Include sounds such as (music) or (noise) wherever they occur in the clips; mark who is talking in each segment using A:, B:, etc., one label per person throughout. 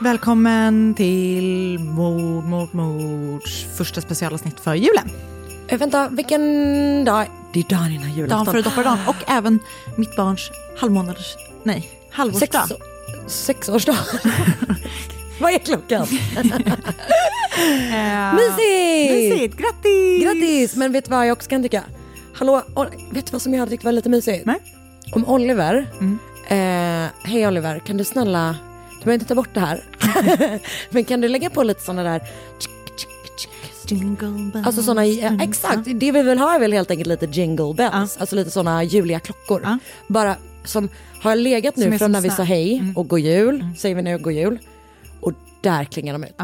A: Välkommen till Mord mot mords första specialavsnitt för julen.
B: Eh, vänta, vilken dag?
A: Det är dagen innan julafton. Dagen före dopparedagen och även mitt barns halvmånaders, nej,
B: Sex,
A: halvårsdag.
B: sexårsdag. (laughs) Vad är (laughs) klockan?
A: Eh,
B: Mysigt!
A: Mysigt, grattis!
B: Grattis! Men vet du vad jag också kan tycka? Hallå, Ol- vet du vad som jag hade tyckt var lite mysigt?
A: Nej.
B: Om Oliver, eh, hej Oliver, kan du snälla, du behöver inte ta bort det (laughs) här, men kan du lägga på lite sådana där
A: Jingle bells.
B: Alltså såna, ja,
A: Mm.
B: exakt, det vi vill ha är väl helt enkelt lite jingle bells, alltså lite såna juliga klockor.
A: Ja.
B: Bara som har legat
A: Som är
B: nu från
A: så Mm.
B: när vi
A: snäll.
B: sa hej och god jul, säger vi nu god jul, och där klingar de ut.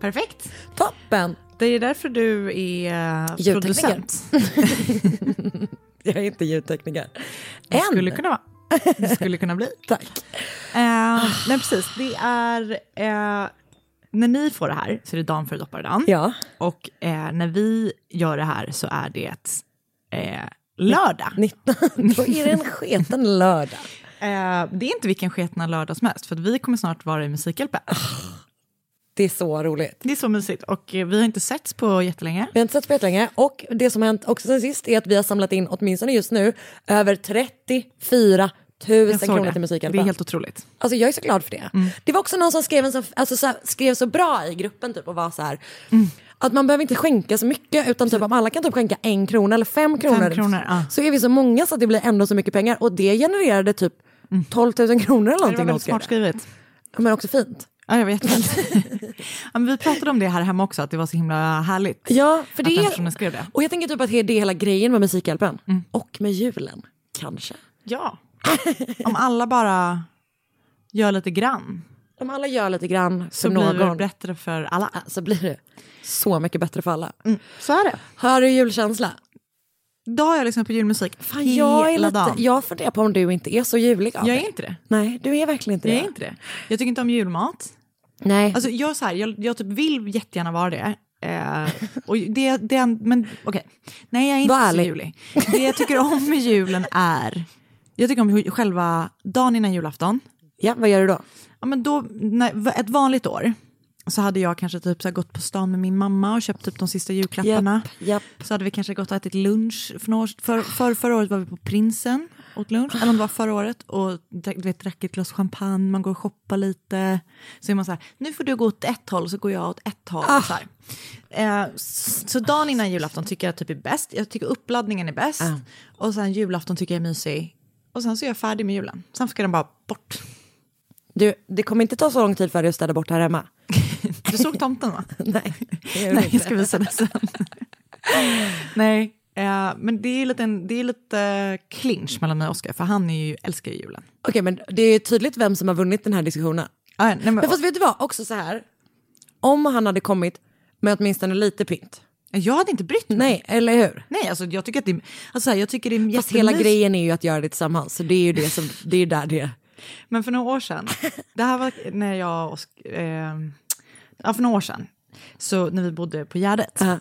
A: Perfekt.
B: Toppen!
A: Det är därför du är eh,
B: Ljudtekniker.
A: producent.
B: Jag är inte ljudtekniker.
A: Det
B: Än!
A: skulle kunna vara. Det skulle kunna bli.
B: Tack.
A: Eh,
B: Ah.
A: nej, precis. Det är... Eh, när ni får det här så är det dagen före dopparedagen.
B: Ja,
A: Och eh, när vi gör det här så är det eh, lördag. (laughs)
B: 19. Då är det en sketen lördag.
A: Eh, det är inte vilken sketna lördag som helst, för att vi kommer snart vara i Musikhjälpen.
B: Det är så roligt.
A: Det är så mysigt. Och eh, vi har inte setts på jättelänge.
B: Vi har inte sett på jättelänge och det som har hänt också sen sist är att vi har samlat in, åtminstone just nu, över 34 000
A: Jag såg
B: kronor
A: det.
B: till
A: Det är
B: Musikhjälpen.
A: helt otroligt.
B: Alltså jag är så glad för det.
A: Mm.
B: Det var också någon som skrev, en så, alltså, så här, skrev så bra i gruppen typ och var så här. Att man behöver inte skänka så mycket utan typ om alla kan typ skänka en krona eller fem kronor.
A: kronor, ja.
B: Så är vi så många så att det blir ändå så mycket pengar och det genererade typ 12 000 kronor eller
A: Mm. Det var
B: någonting.
A: väldigt
B: Oskar.
A: smart skrivet.
B: Men också fint.
A: Ja, jag
B: (laughs)
A: vet inte. ja, men vi pratade om det här hemma också, att det var så himla härligt.
B: Ja, för det
A: Att den
B: är...
A: personen skrev det. Mm.
B: Och jag tänker typ att det är hela grejen med Musikhjälpen. Och med julen, kanske.
A: Ja. (laughs) Om alla bara gör lite grann
B: Om alla gör lite grann
A: så
B: för
A: blir det
B: någon
A: bättre Mm. för alla.
B: så blir det så mycket bättre för alla.
A: Så är det.
B: Har du julkänsla?
A: Då har jag lyssnat på julmusik Fan,
B: jag, är
A: hela
B: lite,
A: dagen.
B: jag funderar på om du inte är så julig av
A: Jag
B: dig.
A: är inte det.
B: Nej, du är verkligen inte
A: Jag
B: det.
A: är inte det. Jag tycker inte om julmat.
B: Nej.
A: Alltså, jag, är så här, jag, jag typ vill jättegärna vara det. Eh, och det, det men okej. Nej, jag är inte
B: Var
A: så
B: ärlig.
A: julig. Det jag tycker om med julen är... Jag tycker om hur- själva dagen innan julafton.
B: ja, vad gör du då?
A: Ja, men då, när, ett vanligt år så hade jag kanske typ så här gått på stan med min mamma och köpt typ de sista julklapparna.
B: Japp, japp.
A: Så hade vi kanske gått och ätit lunch. För, några år, för, för Förra året var vi på Prinsen åt lunch, eller om det var förra året, och drack- du vet, drack ett glas champagne, man går och shoppar lite. Så är man så här, nu får du gå åt ett håll så går jag åt ett håll.
B: Ah.
A: Så, här. Eh, s- så dagen innan julafton tycker jag typ är bäst, jag tycker uppladdningen är bäst.
B: Ah.
A: Och sen julafton tycker jag är mysig. Och sen så är jag färdig med julen. Sen ska den bara bort.
B: Du, det kommer inte ta så lång tid för dig att städa bort här hemma.
A: Du såg tomten va? (laughs)
B: Nej, det gör du
A: Nej,
B: inte.
A: jag ska visa det sen. Nej, eh, men det är lite, en, det är lite clinch mellan mig och Oscar, för han är ju, älskar ju julen.
B: Okej, men det är tydligt vem som har vunnit den här diskussionen.
A: Ah, nej, men,
B: Men fast vet du vad, också så här. Om han hade kommit med åtminstone lite pynt.
A: jag hade inte brytt mig.
B: Nej, eller hur?
A: Nej, alltså, jag tycker att det är, alltså, jag tycker det är
B: Fast hela
A: jättemys-
B: grejen är ju att göra det tillsammans, så det är ju det som, det är ju där det...
A: Men för några år sedan, det här var när jag och Osk- eh, ja, för några år sedan, så när vi bodde på Gärdet,
B: Ja.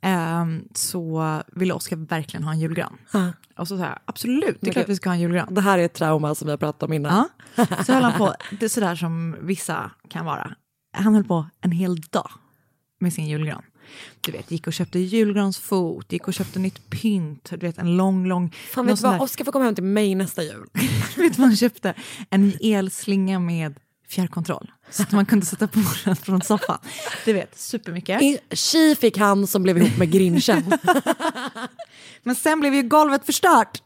A: ehm, så ville Oskar verkligen ha en julgran.
B: Ja.
A: Och så sa jag, absolut, det är klart
B: gud.
A: vi ska ha en julgran.
B: Det här är ett trauma som vi har pratat om innan.
A: Ja. Så höll han på, det är sådär som vissa kan vara. Han höll på en hel dag med sin julgran. Du vet, gick och köpte julgransfot, gick och köpte nytt pynt, du vet en lång, lång...
B: Fan
A: någon
B: vet du
A: sån
B: vad,
A: där-
B: Oskar får komma hem till mig nästa jul.
A: (laughs) vet du vad han köpte? En elslinga med fjärrkontroll. Så att man kunde sätta på den från soffan. Du vet, supermycket.
B: I- Tji fick han som blev ihop med grinchen.
A: Men sen blev ju golvet förstört.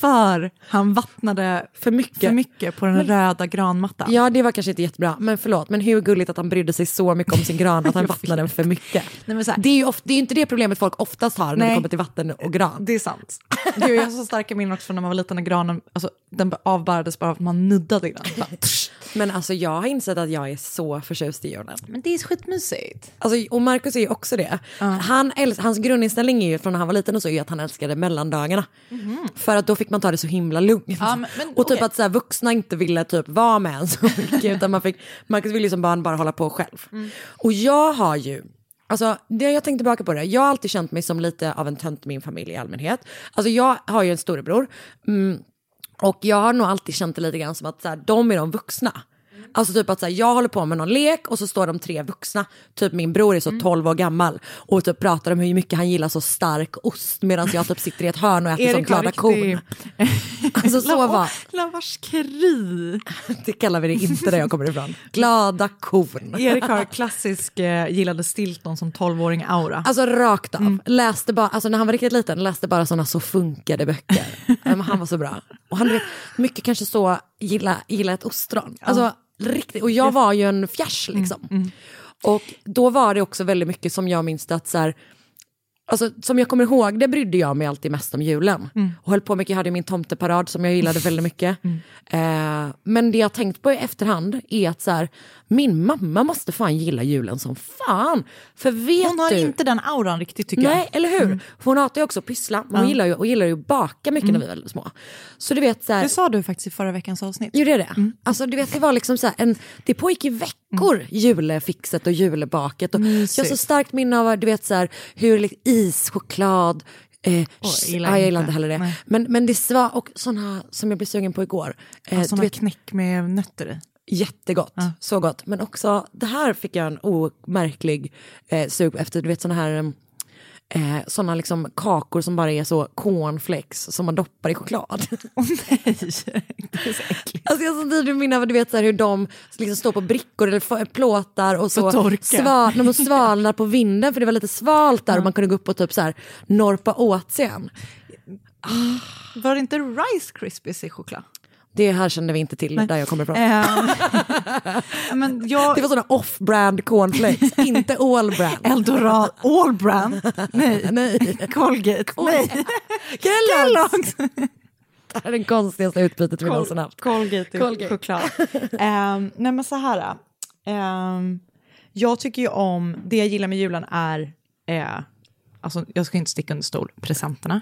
A: För han vattnade
B: För mycket.
A: för mycket på den röda granmattan.
B: Ja, det var kanske inte jättebra, men förlåt. Men hur gulligt att han brydde sig så mycket om sin
A: (laughs)
B: gran att han vattnade den för mycket.
A: Nej, men så här-
B: det, är ju ofta, det är ju inte det problemet folk oftast har när
A: Nej.
B: det kommer till vatten och gran.
A: Det är sant. Gud, jag har så starka minnen också från när man var liten när granen alltså, den avbärades bara för att man nuddade i den. Bara, tsch.
B: Men alltså jag har insett att jag är så förtjust i Jordan.
A: Men det är skitmysigt.
B: Alltså, och Marcus är ju också det. Han äls- hans grundinställning är ju från när han var liten och så är ju att han älskade mellandagarna. För att då fick man ta det så himla lugnt.
A: Mhm. Ja, men- men
B: och typ
A: okej.
B: att så här, vuxna inte ville typ vara med en så
A: (laughs)
B: mycket. utan man fick, Marcus ville ju som barn bara hålla på själv.
A: Mm.
B: Och jag har ju, alltså det jag tänkte tillbaka på det, jag har alltid känt mig som lite av en tönt i min familj i allmänhet. Alltså jag har ju en storebror. Mm, och jag har nog alltid känt det lite grann som att så här, de är de vuxna. Alltså typ att så här, jag håller på med någon lek och så står de tre vuxna. Typ min bror är så 12 år gammal och typ pratar om hur mycket han gillar så stark ost medan jag typ sitter i ett hörn och äter som glada kon.
A: (laughs)
B: Alltså så var
A: Lavaskeri.
B: det kallar vi det inte där jag kommer ifrån. Glada kon.
A: Erik har klassisk eh, gillade Stilton som 12-åring-aura.
B: Alltså rakt av.
A: Mm.
B: Läste bara, alltså när han var riktigt liten läste bara sådana så
A: (laughs)
B: funkade böcker. Ja, Men han var så bra. Och han vet, mycket kanske så gilla, gilla ett ostron. Alltså riktigt, och jag var ju en fjärs
A: Mm,
B: liksom. Och då var det också väldigt mycket som jag minns det att så här, Alltså, som jag kommer ihåg det brydde jag mig alltid mest om julen.
A: Mm.
B: Och höll på mycket, jag hade min tomteparad som jag gillade
A: (laughs)
B: väldigt mycket. Eh, men det jag tänkt på i efterhand är att så här, min mamma måste fan gilla julen som fan. För vet
A: Hon har
B: du,
A: inte den auran riktigt tycker
B: Nej, eller hur?
A: Mm.
B: För hon hatar ju också att pyssla, men hon gillar ju, och gillar ju att baka mycket när vi var små. Så du vet så
A: jag.
B: här,
A: Mm. Det Mm. sa du faktiskt i förra veckans avsnitt.
B: gjorde jag det? Alltså du vet, det var liksom så här, en, det pågick i veckor, julefixet och julebaket. Och jag har så
A: Mm. Mysigt.
B: starkt minne av du vet så här, hur liksom, is, choklad, Eh,
A: jag
B: jag
A: gillar
B: gillar, ah, jag
A: inte.
B: gillar inte heller det.
A: Nej.
B: Men, men det var och såna som jag blev sugen på igår. Eh, du
A: Sådana
B: vet,
A: knäck med nötter i.
B: Jättegott, så gott. Men också, det här fick jag en omärklig eh, sug efter, du vet såna här em, eh, såna liksom kakor som bara är så cornflakes som man doppar i choklad. (laughs)
A: Nej, det är så äckligt.
B: alltså jag har sånt tydligt minne av du vet så här, hur de liksom står på brickor eller f- plåtar och så
A: Och torka.
B: sval, när de svalnar på vinden för det var lite svalt där och man kunde gå upp och typ så här norpa åt sig en.
A: Var det inte Rice Krispies i choklad?
B: Det här kände vi inte till där jag kommer ifrån.
A: Eh, (laughs) men jag,
B: Det var såna off-brand cornflakes, inte all-brand.
A: Eldorado, All Brand, nej,
B: (laughs) Nej.
A: (laughs) Colgate, nej,
B: (laughs) Kellogg's! Det är det konstigaste utbytet vi någonsin haft.
A: Colgate i
B: Colgate.
A: choklad.
B: (laughs)
A: Ehm, nej men så här, ehm, jag tycker ju om, det jag gillar med julen är, eh, alltså jag ska inte sticka under stol, presenterna.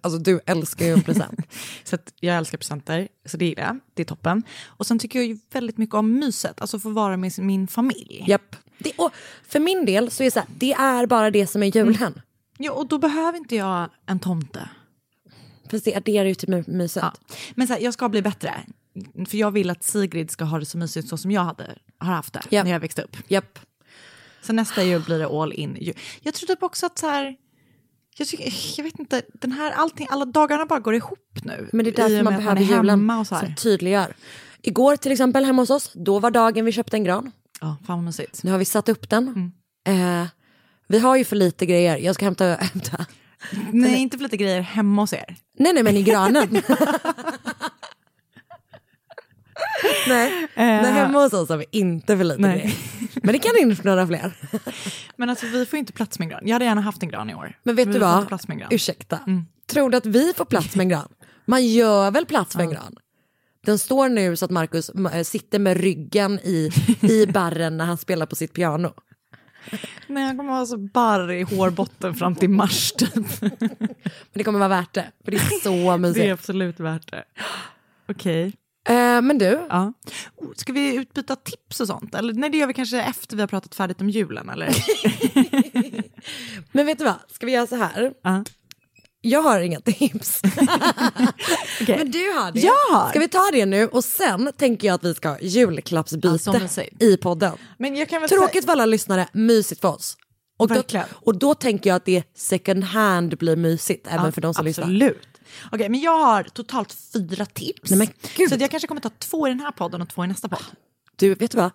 B: Alltså du älskar ju
A: (laughs)
B: en present.
A: Så att jag älskar presenter, så det gillar jag, det är toppen. Och sen tycker jag ju väldigt mycket om myset, alltså få vara med sin- min familj.
B: Japp. Det, och för min del så är det så här, det är bara det som är
A: Mm.
B: julen.
A: Ja, och då behöver inte jag en tomte.
B: Fast det adderar ju till my- myset.
A: Men så här, jag ska bli bättre. För jag vill att Sigrid ska ha det så mysigt så som jag hade, har haft det
B: Ja.
A: när jag växte upp.
B: Japp.
A: Så nästa jul blir det all in. ju- Jag tror typ också att så här, jag, tycker, jag vet inte, den här, allting, alla dagarna bara går ihop nu.
B: Men det är
A: I
B: därför
A: och
B: man
A: med att
B: behöver
A: är
B: julen
A: hemma och så
B: som
A: här.
B: tydliggör. Igår till exempel hemma hos oss, då var dagen vi köpte en gran.
A: Ja, fan vad mysigt.
B: Nu har vi satt upp
A: Mm.
B: den. Eh, vi har ju för lite grejer, jag ska hämta... hämta. Mm.
A: Nej, inte för lite grejer hemma hos er.
B: Nej, nej, men
A: (laughs)
B: i granen. nej. nej, hemma hos oss har vi inte för lite
A: Eh. Nej.
B: grejer. Men det kan finnas några fler.
A: Men alltså vi får inte plats med en gran. Jag hade gärna haft en gran i år.
B: Men vet
A: vi
B: du
A: får inte
B: vad?
A: Plats med en gran. Mm.
B: Ursäkta. Tror du att vi får plats med en gran? Man gör väl plats med en gran? Den står nu så att Marcus äh, sitter med ryggen i,
A: (laughs)
B: i barren när han spelar på sitt piano.
A: Nej, jag kommer ha så barr i hårbotten fram till mars
B: (laughs)
A: typ.
B: Men det kommer vara värt det, för det är
A: (laughs)
B: så
A: Det är
B: mysigt.
A: absolut värt det. Okej.
B: Eh, men du,
A: Ja. Oh, Ska vi utbyta tips och sånt? Eller, nej, det gör vi kanske efter vi har pratat färdigt om julen.
B: (laughs)
A: Eller?
B: men vet du vad? Ska vi göra så här?
A: Ja.
B: Jag har inga tips.
A: (laughs)
B: (laughs)
A: Okej.
B: Men du har det.
A: Jag har.
B: Ska vi ta det nu och sen tänker jag att vi ska ha
A: Ja, som
B: julklappsbyte
A: du säger.
B: i podden.
A: Men jag kan väl
B: Tråkigt för alla lyssnare, mysigt för oss. Och då,
A: Verkligen.
B: och då tänker jag att det second hand blir mysigt även för de som lyssnar.
A: Absolut. Okej, men jag har totalt fyra tips.
B: Nej, men gud.
A: så att jag kanske kommer ta två i den här podden och två i nästa podd.
B: Du, vet du vad?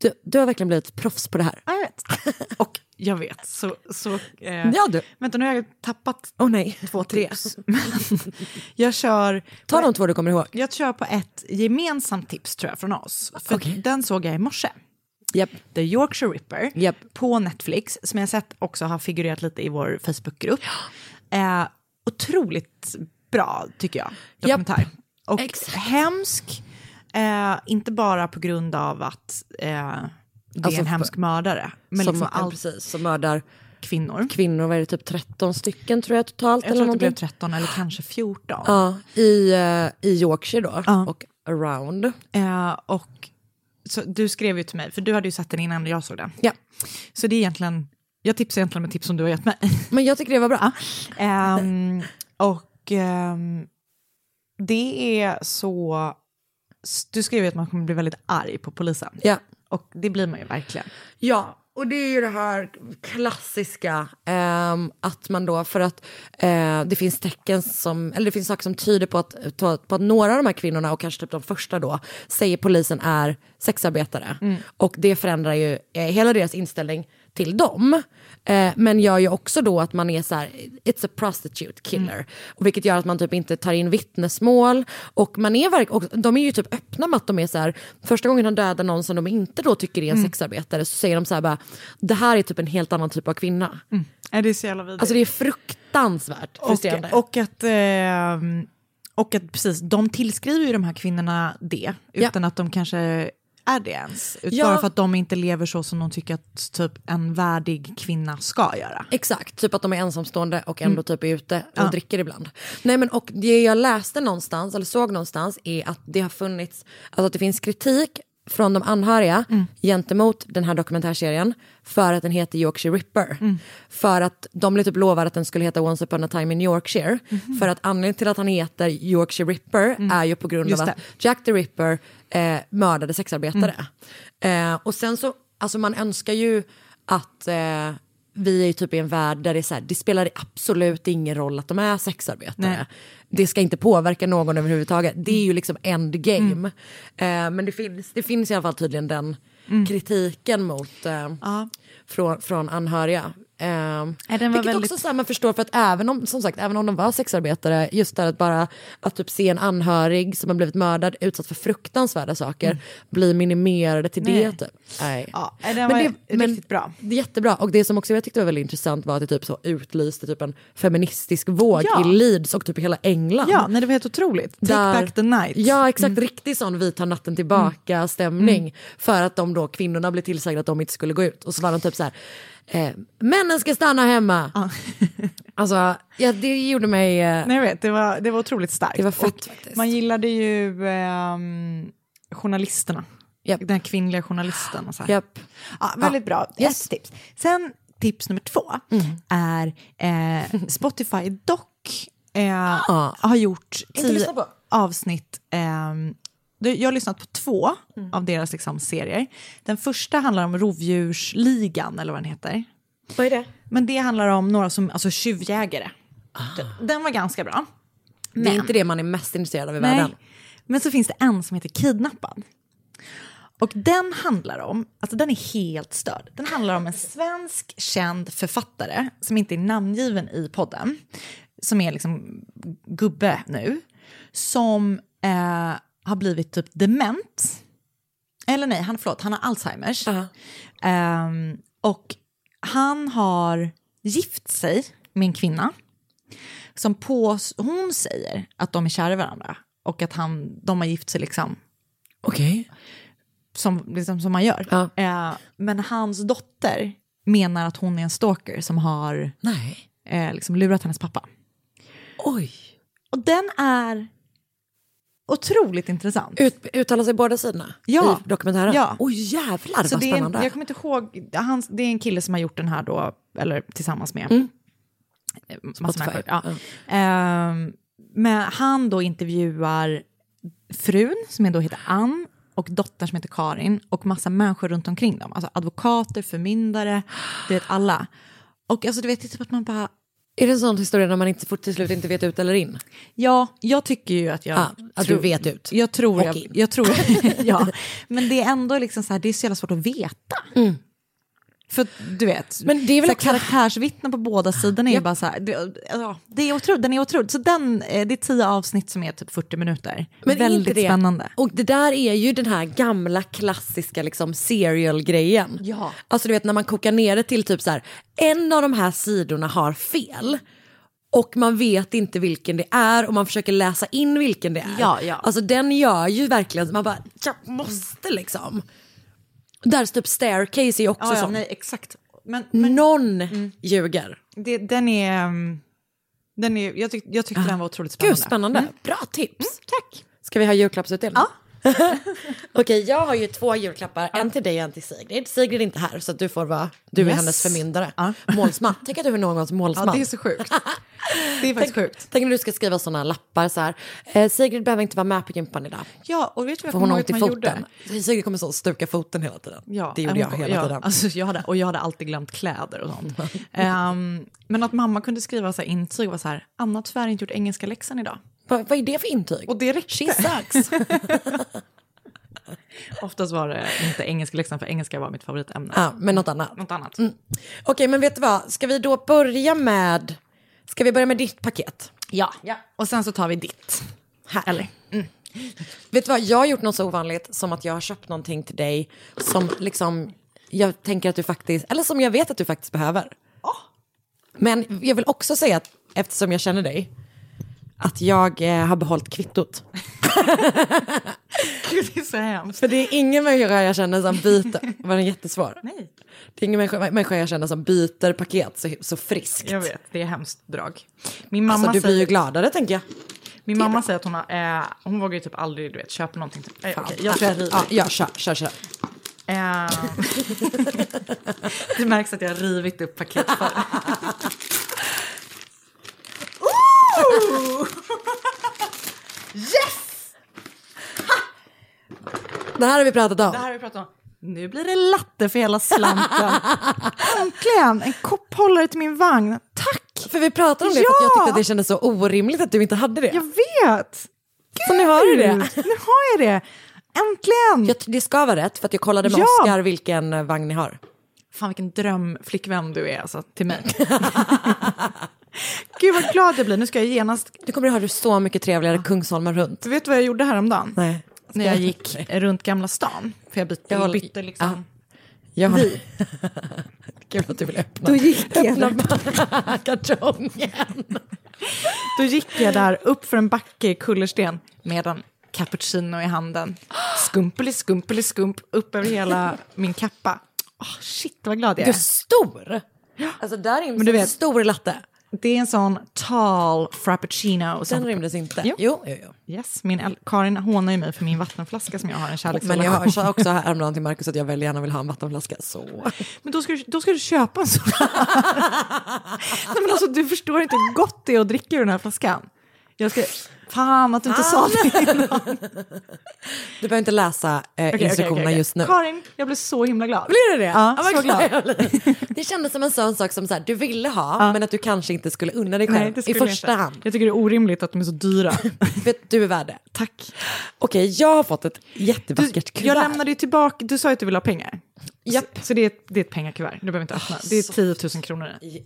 B: Du, du har verkligen blivit ett proffs på det här.
A: Ja, jag vet. (laughs) Och Jag vet, så... så eh,
B: Ja, du.
A: Vänta, nu har jag tappat
B: Åh nej.
A: två tips. Men (laughs) jag kör...
B: Ta de två du kommer ihåg.
A: Jag kör på ett gemensamt tips tror jag från oss. För
B: Okej.
A: den såg jag i morse.
B: Japp.
A: The Yorkshire Ripper
B: Japp.
A: på Netflix som jag sett också har figurerat lite i vår Facebookgrupp. Eh, otroligt bra tycker jag, dokumentär. Och
B: Exakt.
A: hemsk, eh, inte bara på grund av att eh, det är
B: Alltså,
A: en hemsk mördare, men
B: som,
A: liksom
B: ja,
A: allt
B: precis, som mördar
A: kvinnor.
B: kvinnor, vad är det, typ 13 stycken tror jag totalt?
A: Jag
B: eller
A: tror att det blev
B: någonting.
A: 13 eller kanske 14.
B: Ja, i, eh, i Yorkshire då,
A: Ja.
B: och around.
A: Eh, och så, du skrev ju till mig, för du hade ju sett den innan jag såg den.
B: Ja.
A: Så det är egentligen, jag tipsar egentligen med tips som du har gett mig.
B: Men jag tycker det var bra.
A: Ehm, och ehm, det är så... Du skrev ju att man kommer bli väldigt arg på polisen.
B: Ja.
A: Och det blir man ju verkligen.
B: Ja, och det är ju det här klassiska ehm, att man då för att eh, det finns tecken som, eller det finns saker som tyder på att, på, på att några av de här kvinnorna och kanske typ de första då säger polisen är sexarbetare och det förändrar ju eh, hela deras inställning till dem. Eh, men gör ju också då att man är så här, it's a prostitute killer. Och vilket gör att man typ inte tar in vittnesmål. Och man är verk- och de är ju typ öppna med att de är så här, första gången de dödar någon som de inte då tycker är en sexarbetare så säger de så här bara, det här är typ en helt annan typ av kvinna.
A: Är det är så jävla vidrigt.
B: Alltså det är fruktansvärt frustrerande.
A: och, och att... ehm, och att precis, de tillskriver ju de här kvinnorna det, utan att de kanske är det ens. Ut-
B: Ja.
A: Bara för att de inte lever så som de tycker att typ, en värdig kvinna ska göra.
B: Exakt, typ att de är ensamstående och
A: Mm.
B: ändå typ är ute och dricker ibland. Nej men och det jag läste någonstans eller såg någonstans är att det har funnits, alltså att det finns kritik från de anhöriga
A: Mm.
B: gentemot den här dokumentärserien för att den heter Yorkshire Ripper.
A: Mm.
B: För att de blev typ lovade att den skulle heta Once upon a time in Yorkshire.
A: Mhm.
B: För att anledningen till att han heter Yorkshire Ripper är ju på grund
A: Mm. Just
B: av
A: det.
B: att Jack the Ripper eh, mördade sexarbetare.
A: Mm.
B: Eh, och sen så, alltså man önskar ju att eh, vi är ju typ i en värld där det är så här, det spelar absolut ingen roll att de är sexarbetare.
A: Nej. Mm.
B: Det ska inte påverka någon överhuvudtaget. Det är ju liksom endgame. Eh, men det finns, det finns i alla fall tydligen den kritiken mot eh,
A: Mm. Ja.
B: från, från anhöriga. Eh,
A: var
B: vilket
A: väldigt-
B: också så här, man förstår för att även om, som sagt, även om de var sexarbetare, just där att bara att typ se en anhörig som har blivit mördad, utsatt för fruktansvärda saker, bli minimerade till det
A: Nej.
B: typ. Nej.
A: Ja, den var riktigt bra.
B: Det är jättebra och det som också jag tyckte var väldigt intressant var att det typ så utlyste typ en feministisk våg
A: Ja.
B: i Leeds och typ hela England.
A: Ja, nej, det var helt otroligt. Take
B: Där-
A: back the night. Mm.
B: Ja exakt, riktig sån vi tar natten tillbaka stämning. För att de då kvinnorna blev tillsagda att de inte skulle gå ut. Och så var de typ så här, eh, männen ska stanna hemma.
A: (laughs)
B: alltså ja, det gjorde mig, eh,
A: Nej, jag vet, det var, det var otroligt starkt.
B: det var fett
A: Och
B: faktiskt.
A: Man gillade ju ehm, journalisterna.
B: Japp.
A: Den kvinnliga journalisten. Och så här.
B: Japp.
A: Ja, väldigt bra. Ett tips. Sen tips nummer två
B: Mm.
A: är eh,
B: (laughs)
A: Spotify Doc eh, har gjort tio
B: lyssna på.
A: avsnitt. ehm, det- jag har lyssnat på två
B: Mm.
A: av deras liksom, serier. Den första handlar om Rovdjursligan, eller vad den heter.
B: Vad är det?
A: Men det handlar om några som, alltså tjuvjägare.
B: Ah.
A: Den var ganska bra.
B: Det är inte det man är mest intresserad av i världen.
A: Men så finns det en som heter Kidnappad. Och den handlar om, alltså den är helt störd. Den handlar om en svensk känd författare som inte är namngiven i podden. Som är liksom gubbe nu. Som eh, har blivit typ dement. Eller nej, han, förlåt, han har Alzheimers. Ehm, och han har gift sig med en kvinna som på, hon säger att de är kära i varandra och att han, de har gift sig liksom,
B: Okej.
A: som, liksom, som man gör.
B: Ja.
A: Eh, men hans dotter menar att hon är en stalker som har
B: Nej.
A: eh, liksom lurat hennes pappa.
B: Oj.
A: Och den är otroligt intressant.
B: Ut, uttalar sig båda sidorna
A: Ja.
B: i dokumentären?
A: Ja.
B: Oj jävlar
A: Så
B: vad
A: det är en,
B: spännande.
A: jag kommer inte ihåg, han, det är en kille som har gjort den här då, eller tillsammans med eh, massa
B: Mm. Spotify.
A: människor. Ja. Ehm, men han då intervjuar frun, som är då heter Ann, och dottern som heter Karin, och massa människor runt omkring dem. Alltså advokater, förmyndare, du vet alla. Och alltså du vet, det är typ att man bara,
B: Är det en sån historia när man inte, får- till slut inte vet ut eller in?
A: ja, jag tycker ju att jag...
B: Ja, Ah, att du vet ut.
A: Jag tror,
B: Och
A: jag,
B: in. (laughs)
A: (laughs) jag tror ja. Men det är ändå liksom så här, det är så jävla svårt att veta. För att, du vet,
B: Mm. Men det är väl
A: så här,
B: också-
A: karaktärsvittnen på båda sidorna är ju bara så här, det, ja, det är otroligt, den är otroligt. Så den, eh, det är tio avsnitt som är typ 40 minuter.
B: Men är inte
A: Väldigt
B: det-
A: spännande.
B: Och det där är ju den här gamla klassiska liksom serial-grejen.
A: Ja.
B: Alltså du vet när man kokar ner det till typ så här, en av de här sidorna har fel. Och man vet inte vilken det är och man försöker läsa in vilken det är.
A: Ja, ja.
B: Alltså den gör ju verkligen, man bara, jag måste liksom. Där typ staircase är ju också
A: Ja, ja,
B: sån.
A: nej, exakt. Men,
B: Mm.
A: Mm.
B: Någon ljuger.
A: det, den är... um, Den är jag, tyck, jag tyckte den var otroligt spännande.
B: Ah. Gud, spännande. Mm. Bra tips.
A: Tack.
B: Ska vi ha julklappsutdelning? Ja. (laughs) Okej, jag har ju två julklappar. En till dig och en till Sigrid. Sigrid är inte här, så att du får vara... Du är
A: Yes.
B: hennes förmyndare.
A: Ja.
B: Målsman. Tänk att du är någons målsman.
A: Ja, det är så
B: (laughs)
A: sjukt. Det är faktiskt
B: Tänk,
A: sjukt.
B: tänk när du ska skriva sådana lappar så här. Eh, Sigrid behöver inte vara med på gympan idag.
A: Ja, och vet du vad
B: För
A: jag
B: hon
A: kommer
B: har
A: ihåg
B: ont i
A: att man gjorde?
B: foten. Sigrid kommer så stuka foten hela tiden.
A: Ja,
B: det gjorde
A: äh,
B: jag
A: hon-
B: hela
A: ja,
B: tiden.
A: Alltså, jag hade, och jag hade alltid glömt kläder och sånt. Ehm, men att mamma kunde skriva så här intyg och var så här, Anna har tyvärr inte gjort engelska läxan idag.
B: Vad, vad är det för intyg?
A: Och det räckte.
B: She sucks.
A: (laughs) Oftast var det inte engelska läxan för engelska var mitt favoritämne.
B: ja, Mm. men något annat.
A: Något annat.
B: Okej, men vet du vad? Ska vi då börja med... Ska vi börja med ditt paket?
A: Ja. och sen så tar vi ditt.
B: Här.
A: Eller?
B: Mm. Vet du vad, jag har gjort något så ovanligt som att jag har köpt någonting till dig som liksom jag tänker att du faktiskt, eller som jag vet att du faktiskt behöver. Men jag vill också säga att eftersom jag känner dig, att jag eh, har behållit kvittot.
A: Gud, det är så hemskt.
B: För (laughs) det är ingen människa jag känner som
A: (laughs)
B: byter, var den jättesvår?
A: Nej,
B: Det är ingen människa, människa jag känner som byter paket så, så friskt.
A: jag vet. Det är hemskt drag. Min mamma,
B: Alltså du blir
A: säger,
B: ju gladare tänker jag.
A: min mamma säger att hon, har, eh, hon vågar ju typ aldrig du vet, köpa någonting. Typ. Eh, okej, jag tror jag river.
B: ja, ja, kör, kör, kör.
A: Eh, (laughs) det märks att jag har rivit upp paket för.
B: Det här har vi pratat om.
A: Det här har vi pratat om. Nu blir det latte för hela slanten. (laughs) Äntligen! En kopphållare till min vagn. Tack!
B: För vi pratade om det för att jag
A: Ja!
B: tyckte att det kändes så orimligt att du inte hade det.
A: Jag vet!
B: Så nu har du det.
A: Gud, Nu har jag det! Äntligen!
B: Jag, det ska vara rätt för att jag kollade med
A: Ja.
B: Oscar vilken eh, vagn ni har.
A: Fan vilken drömflickvän du är alltså, till mig. (laughs) Gud vad glad jag blir. Nu ska jag genast...
B: Du kommer att ha det så mycket trevligare Kungsholmen runt.
A: Vet du vad jag gjorde häromdagen?
B: Nej.
A: När jag gick runt Gamla stan. För jag bytte,
B: Jag håller-
A: bytte liksom...
B: Jag har... (laughs) Kul att du vill öppna.
A: Då gick jag
B: öppna bara (laughs) kartongen.
A: Då gick jag där upp för en backe i kullersten med en cappuccino i handen. Skumpeli, skumpeli, skump upp över hela min kappa. Oh, shit, vad glad jag
B: Du är
A: är.
B: stor. Alltså där rymdes
A: du
B: en
A: vet-
B: stor latte.
A: Det är en sån tall frappuccino. Och
B: Den
A: sånt.
B: rymdes inte.
A: Jo.
B: jo, jo. jo.
A: Yes, min äl- Karin hånar ju mig för min vattenflaska som jag har en
B: Men
A: kärleksrelation
B: jag
A: med.
B: har- sa också häromdagen till Markus att jag väldigt gärna vill ha en vattenflaska. Så.
A: (laughs) Men då ska, du, då ska du köpa en sån (laughs) här. Nej, men alltså, du förstår inte hur gott det är att dricka ur den här flaskan. Jag ska... Fan att du inte sa det.
B: Du behöver inte läsa eh,
A: (laughs) Okej, okej,
B: instruktionerna
A: okej, okej.
B: just nu.
A: Karin, jag blev så himla glad.
B: Blir du det?
A: Ja,
B: vad
A: så (laughs) glad.
B: jag blir. (laughs) Det kändes som en sån sak som så här, du ville ha men att du kanske inte skulle unna dig
A: Nej,
B: själv
A: det
B: i
A: skulle jag
B: första
A: inte.
B: hand.
A: Jag tycker det är orimligt att de är så (laughs) dyra.
B: För att du är värd det.
A: Tack.
B: Okej, jag har fått ett
A: Du,
B: jättevackert kuvert.
A: jag lämnade ju tillbaka, du sa ju att du ville ha pengar.
B: Japp.
A: Så, så det, är, ett- det är ett pengakuvert, du behöver inte öppna. Det
B: så
A: är 10 000 kronor i.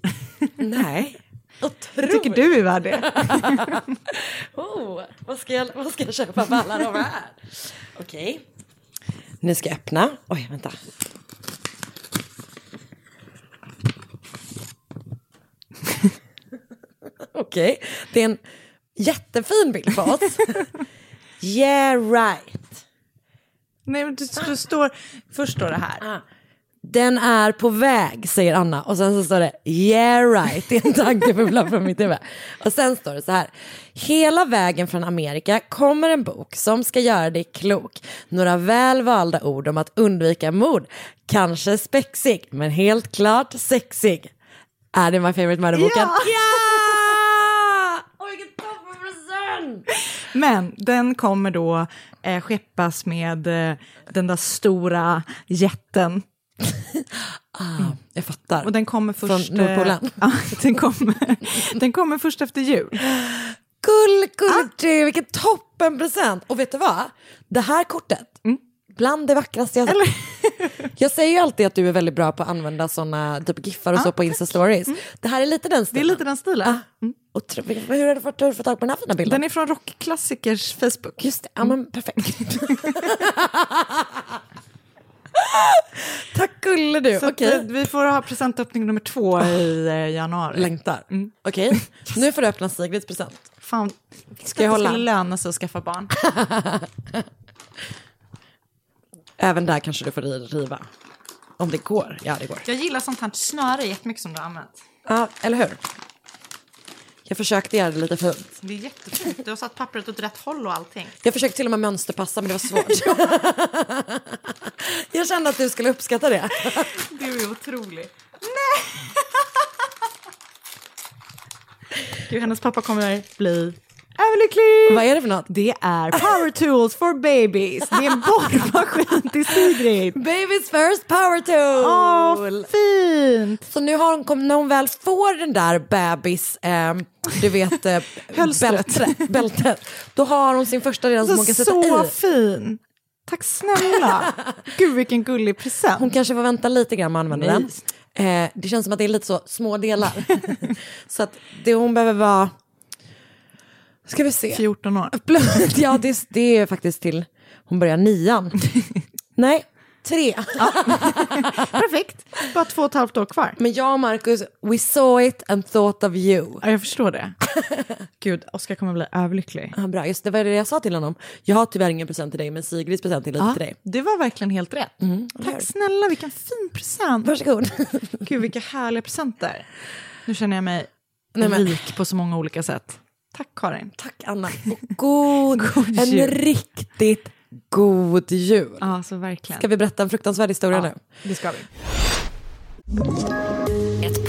B: Nej. (laughs) Otroligt.
A: Tycker du är värd det?
B: Oh, vad, ska jag, vad ska jag köpa för alla de här? Okej. Nu ska jag öppna. Oj, vänta. (laughs) Okej, det är en jättefin bild på oss. Yeah right.
A: (laughs) Nej, men du, du står, först står det
B: Ah.
A: här.
B: Den är på väg, säger Anna. Och sen så står det yeah right. Det är en tankebubbla från mitt huvud. Och sen står det så här. Hela vägen från Amerika kommer en bok som ska göra dig klok. Några väl valda ord om att undvika mord. Kanske spexig, men helt klart sexig. Är det My Favorite Murder-boken?
A: Ja!
B: ja! Åh, vilken toppenpresent!
A: Men den kommer då eh, skeppas med eh, den där stora jätten.
B: Ah, Jag fattar.
A: Och den kommer först...
B: Från Nordpolen.
A: Eh, (laughs) ja, den, kommer, den kommer först efter jul. Ah. Mm.
B: Gull, gull, du, vilken toppenpresent! Och vet du vad? Det här kortet Bland det vackraste jag (laughs) sett. Jag säger ju alltid att du är väldigt bra på att använda såna typ giffar och så på Insta-stories. Det här är lite den
A: Ah, Mm. Det är
B: stilen.
A: lite den stilen.
B: Och tro- hur har du fått, hur har du fått tag på den här fina bilden?
A: Den Mm. är från Rockklassikers Facebook.
B: Just det, ja men perfekt.
A: (laughs)
B: Tack gulle du.
A: Så att,
B: Okej.
A: eh, vi får ha presentöppning nummer två i eh, januari.
B: Längtar.
A: Mm.
B: Okej, nu får du öppna Sigrids present.
A: Fan, ska
B: jag hålla?
A: Det skulle löna sig att skaffa barn.
B: Även där kanske du får ri- riva. Om det går. Ja, det går.
A: Jag gillar sånt här snöre jättemycket som du har använt.
B: Ja, eller hur? Jag försökte göra det lite fint.
A: Det är jättefint. Du har satt pappret åt rätt håll och allting.
B: Jag försökte till och med mönsterpassa, men det
A: (laughs)
B: var svårt. jag kände att du skulle uppskatta det.
A: Du är otrolig. Nej! (laughs) Gud, hennes pappa kommer bli överlycklig.
B: Vad är det för något?
A: Det är power tools for babies. Det är en borrmaskin till Sigrid.
B: Baby's first power tool!
A: fint!
B: Så nu har hon, kom- när hon väl får den där bebis, eh, du vet, eh,
A: Hölstret.
B: bältet, bältet, då har hon sin första redan som hon kan sätta
A: så
B: i.
A: fin! Tack (laughs) snälla. Gud, vilken gullig present.
B: Hon kanske får vänta lite grann med att använda den.
A: Nice.
B: Eh, det känns som att det är lite så små delar. (laughs) så att det hon behöver vara... Ska vi se.
A: 14 år.
B: Plus- (laughs) ja, det, är- det är faktiskt till hon
A: (laughs)
B: börjar nian. Nej, tre.
A: Perfekt. Bara två och ett halvt år kvar.
B: Men jag och Marcus, we saw it and thought of you.
A: Ja, jag förstår (laughs) det. Gud, Oskar kommer bli överlycklig.
B: Ja, bra, just det var det jag sa till honom. Jag har tyvärr ingen present till dig, men Sigrids present är lite till dig.
A: det var verkligen helt rätt.
B: hur?
A: Tack snälla, vilken fin present. (laughs)
B: Varsågod.
A: Gud, vilka härliga presenter. Nu känner jag mig
B: Nej, men-
A: rik på så många olika sätt. Tack, Karin.
B: Tack Anna. Och
A: (laughs)
B: god,
A: God
B: en
A: jul.
B: riktigt god jul.
A: Ja, så verkligen.
B: Ska vi berätta en fruktansvärd historia
A: ja,
B: nu?
A: det ska vi.
C: Ett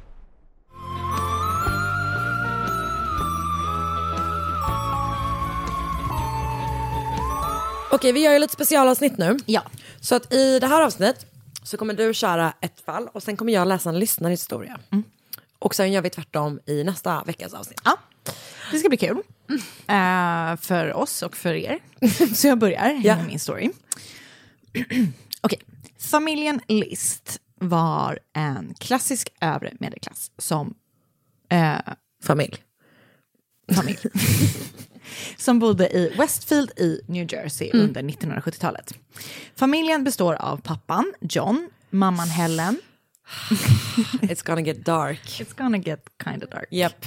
B: Okej, vi gör ju lite specialavsnitt nu.
A: Ja.
B: Så att i det här avsnittet så kommer du köra ett fall och sen kommer jag läsa en lyssnarhistoria.
A: Mm.
B: Och sen gör vi tvärtom i nästa veckas avsnitt.
A: ja. Det ska bli kul. Eh, för oss och för er. så jag börjar
B: Ja.
A: med min story. (clears throat) Okej. Familjen List var en klassisk övre medelklass som eh,
B: Familj.
A: familj. (laughs) som bodde i Westfield i New Jersey under 1970-talet. Familjen består av pappan John, mamman Helen. Ah.
B: It's gonna get dark.
A: It's gonna get kind of dark.
B: Yep.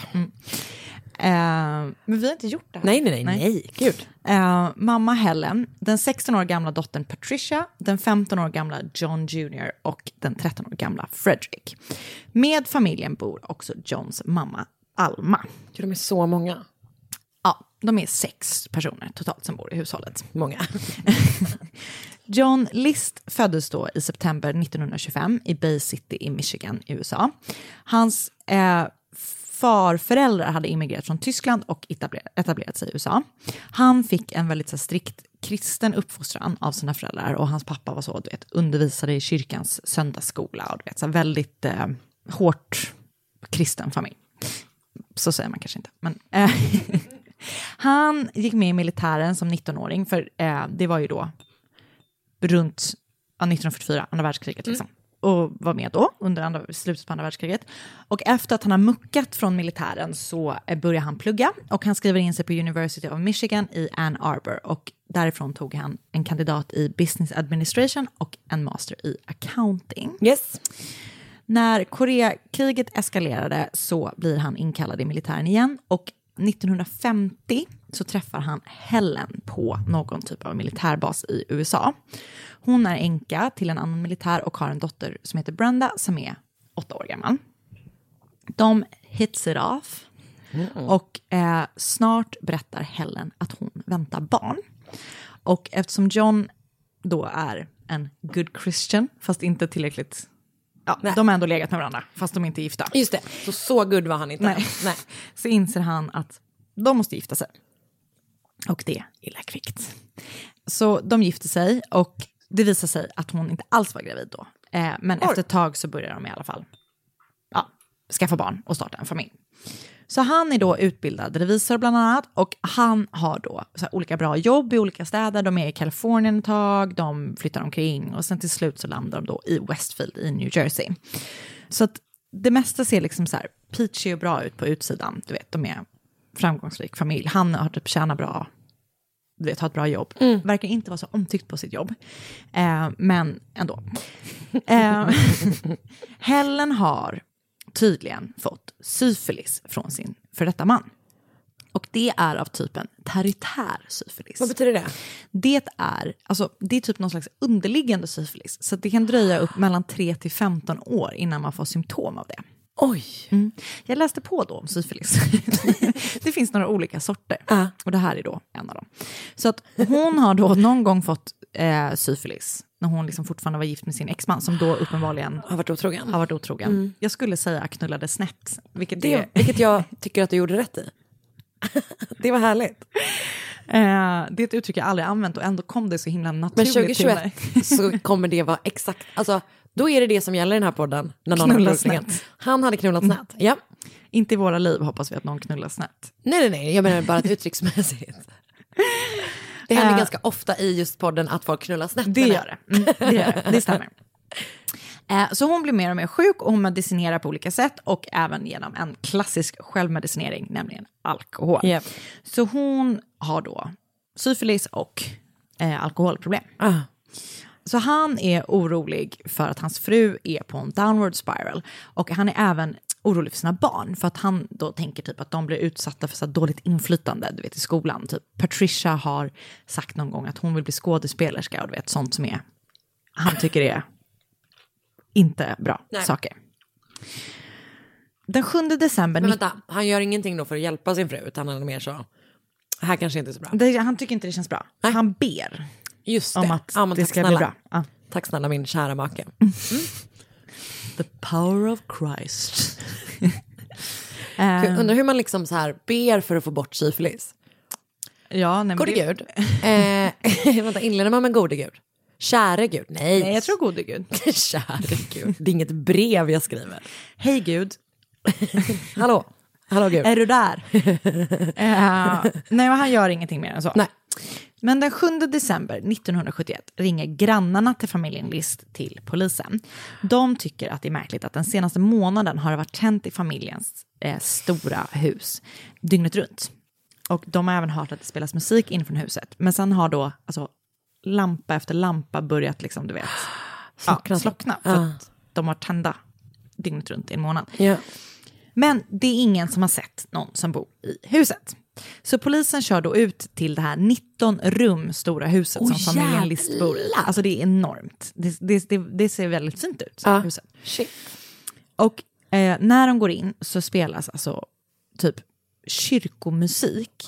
A: Eh, men vi har inte gjort det här.
B: Nej, nej, nej, nej. Gud.
A: Eh, mamma Helen, den 16 år gamla dottern Patricia, den 15 år gamla John Jr och den 13 år gamla Frederick. Med familjen bor också Johns mamma Alma.
B: Gud, de är så många.
A: Ja, de är sex personer totalt som bor i hushållet.
B: Många. (laughs)
A: John List föddes då i september 1925 i Bay City i Michigan, USA. Hans eh, farföräldrar hade immigrerat från Tyskland och etabler- etablerat sig i USA. Han fick en väldigt så, här, strikt kristen uppfostran av sina föräldrar och hans pappa var så, du vet, undervisade i kyrkans söndagsskola och du vet, så här, väldigt eh, hårt kristen familj. Så säger man kanske inte, men... Eh, (laughs) han gick med i militären som 19-åring, för eh, det var ju då runt ja, 1944, andra världskriget. Liksom. Och var med då, under andra, slutet på andra världskriget. Och efter att han har muckat från militären så eh, börjar han plugga. Och han skriver in sig på University of Michigan i Ann Arbor. Och därifrån tog han en kandidat i Business Administration och en master i Accounting.
B: Yes.
A: När Koreakriget eskalerade så blir han inkallad i militären igen och 1950 så träffar han Helen på någon typ av militärbas i USA. Hon är änka till en annan militär och har en dotter som heter Brenda som är åtta år gammal. De hits it off. Och eh, snart berättar Helen att hon väntar barn. Och eftersom John då är en good Christian, fast inte tillräckligt... Ja, de har ändå legat med varandra, fast de inte är gifta.
B: Just det, så, så good var han inte.
A: Nej.
B: Nej.
A: (laughs) Så inser han att de måste gifta sig. Och det illa kvickt. Så de gifter sig och det visar sig att hon inte alls var gravid då. Eh, men efter ett tag så börjar de i alla fall ja, skaffa barn och starta en familj. Så han är då utbildad revisor bland annat och han har då så här olika bra jobb i olika städer. De är i Kalifornien ett tag, de flyttar omkring och sen till slut så landar de då i Westfield i New Jersey. Så att det mesta ser liksom så här peachy och bra ut på utsidan. Du vet, de är en framgångsrik familj. Han har typ tjänat bra, du vet, har ett bra jobb. Verkar inte vara så omtyckt på sitt jobb. Eh, men ändå. Eh, (laughs) Helen har tydligen fått syfilis från sin för detta man. Och det är av typen territär syfilis.
B: Vad betyder det?
A: Det är, alltså, det är typ någon slags underliggande syfilis. Så att det kan dröja upp mellan 3 till 15 år innan man får symptom av det.
B: Oj.
A: Mm. Jag läste på då om syfilis. (laughs) det finns några olika sorter. Och det här är då en av dem. Så att hon har då någon gång fått eh, syfilis när hon liksom fortfarande var gift med sin exman som då uppenbarligen
B: Har varit otrogen.
A: har varit otrogen. Jag skulle säga knullade snett, vilket det,
B: Mm. Det, vilket jag tycker att du gjorde rätt i. (laughs) det var härligt.
A: eh, det är ett uttryck jag aldrig använt och ändå kom det så himla
B: Men
A: naturligt till mig. (laughs)
B: 2021 så kommer det vara exakt, alltså då är det det som gäller i den här podden. När någon
A: Knulla
B: har knullat
A: snett.
B: snett. Han hade knullat snett. Ja.
A: Inte i våra liv hoppas vi att någon knullar snett.
B: Nej, nej, nej, jag menar bara att uttrycksmässigt.
A: (laughs)
B: Det händer ganska ofta i just podden att folk knullar snett.
A: Eh. Det
B: menar
A: gör det. Mm, det, gör det. det stämmer. Eh, Så hon blir mer och mer sjuk och hon medicinerar på olika sätt och även genom en klassisk självmedicinering, nämligen alkohol.
B: Japp.
A: Så hon har då syfilis och eh, alkoholproblem.
B: jag. Ah.
A: Så han är orolig för att hans fru är på en downward spiral. Och han är även orolig för sina barn, för att han då tänker typ att de blir utsatta för så här dåligt inflytande, du vet i skolan. Typ Patricia har sagt någon gång att hon vill bli skådespelerska och du vet sånt som är, han tycker är inte bra saker. Den 7 december...
B: Men vänta, han gör ingenting då för att hjälpa sin fru utan han är mer så, det här kanske inte är så bra.
A: Det- han tycker inte det känns bra. Han ber
B: Just det.
A: om att
B: Ja, men
A: det
B: tack
A: ska
B: snälla.
A: bli bra. Ja.
B: Tack snälla min kära make. Mm.
A: The power of
B: (laughs)
A: Christ. Eh.
B: Jag undrar hur man liksom så här ber för att få bort syfilis.
A: Ja, nej, men
B: Gode
A: det-
B: gud. Eh, (laughs) vänta, inleder man med gode gud? Käre gud? Nej.
A: Nej, jag tror gode gud.
B: (laughs) Käre gud. Det är inget brev jag skriver.
A: Hej gud,
B: Hallå? Hallå gud.
A: är du
B: (laughs)
A: där? Eh, nej, men han gör ingenting mer än så.
B: Nej.
A: Men den 7 december 1971 ringer grannarna till familjen List till polisen. De tycker att det är märkligt att den senaste månaden har det varit tänt i familjens eh, stora hus dygnet runt. Och de har även hört att det spelas musik inifrån huset. Men sen har då alltså, lampa efter lampa börjat liksom, du vet, slockna. Ja, slockna för att de har tända dygnet runt i en månad.
B: Ja.
A: Men det är ingen som har sett någon som bor i huset. Så polisen kör då ut till det här 19 rum stora huset
B: Åh,
A: som familjen List bor i.
B: jävlar!
A: Alltså det är enormt. Det, det, det, det ser väldigt fint ut, huset.
B: Shit.
A: Och eh, när de går in så spelas alltså typ kyrkomusik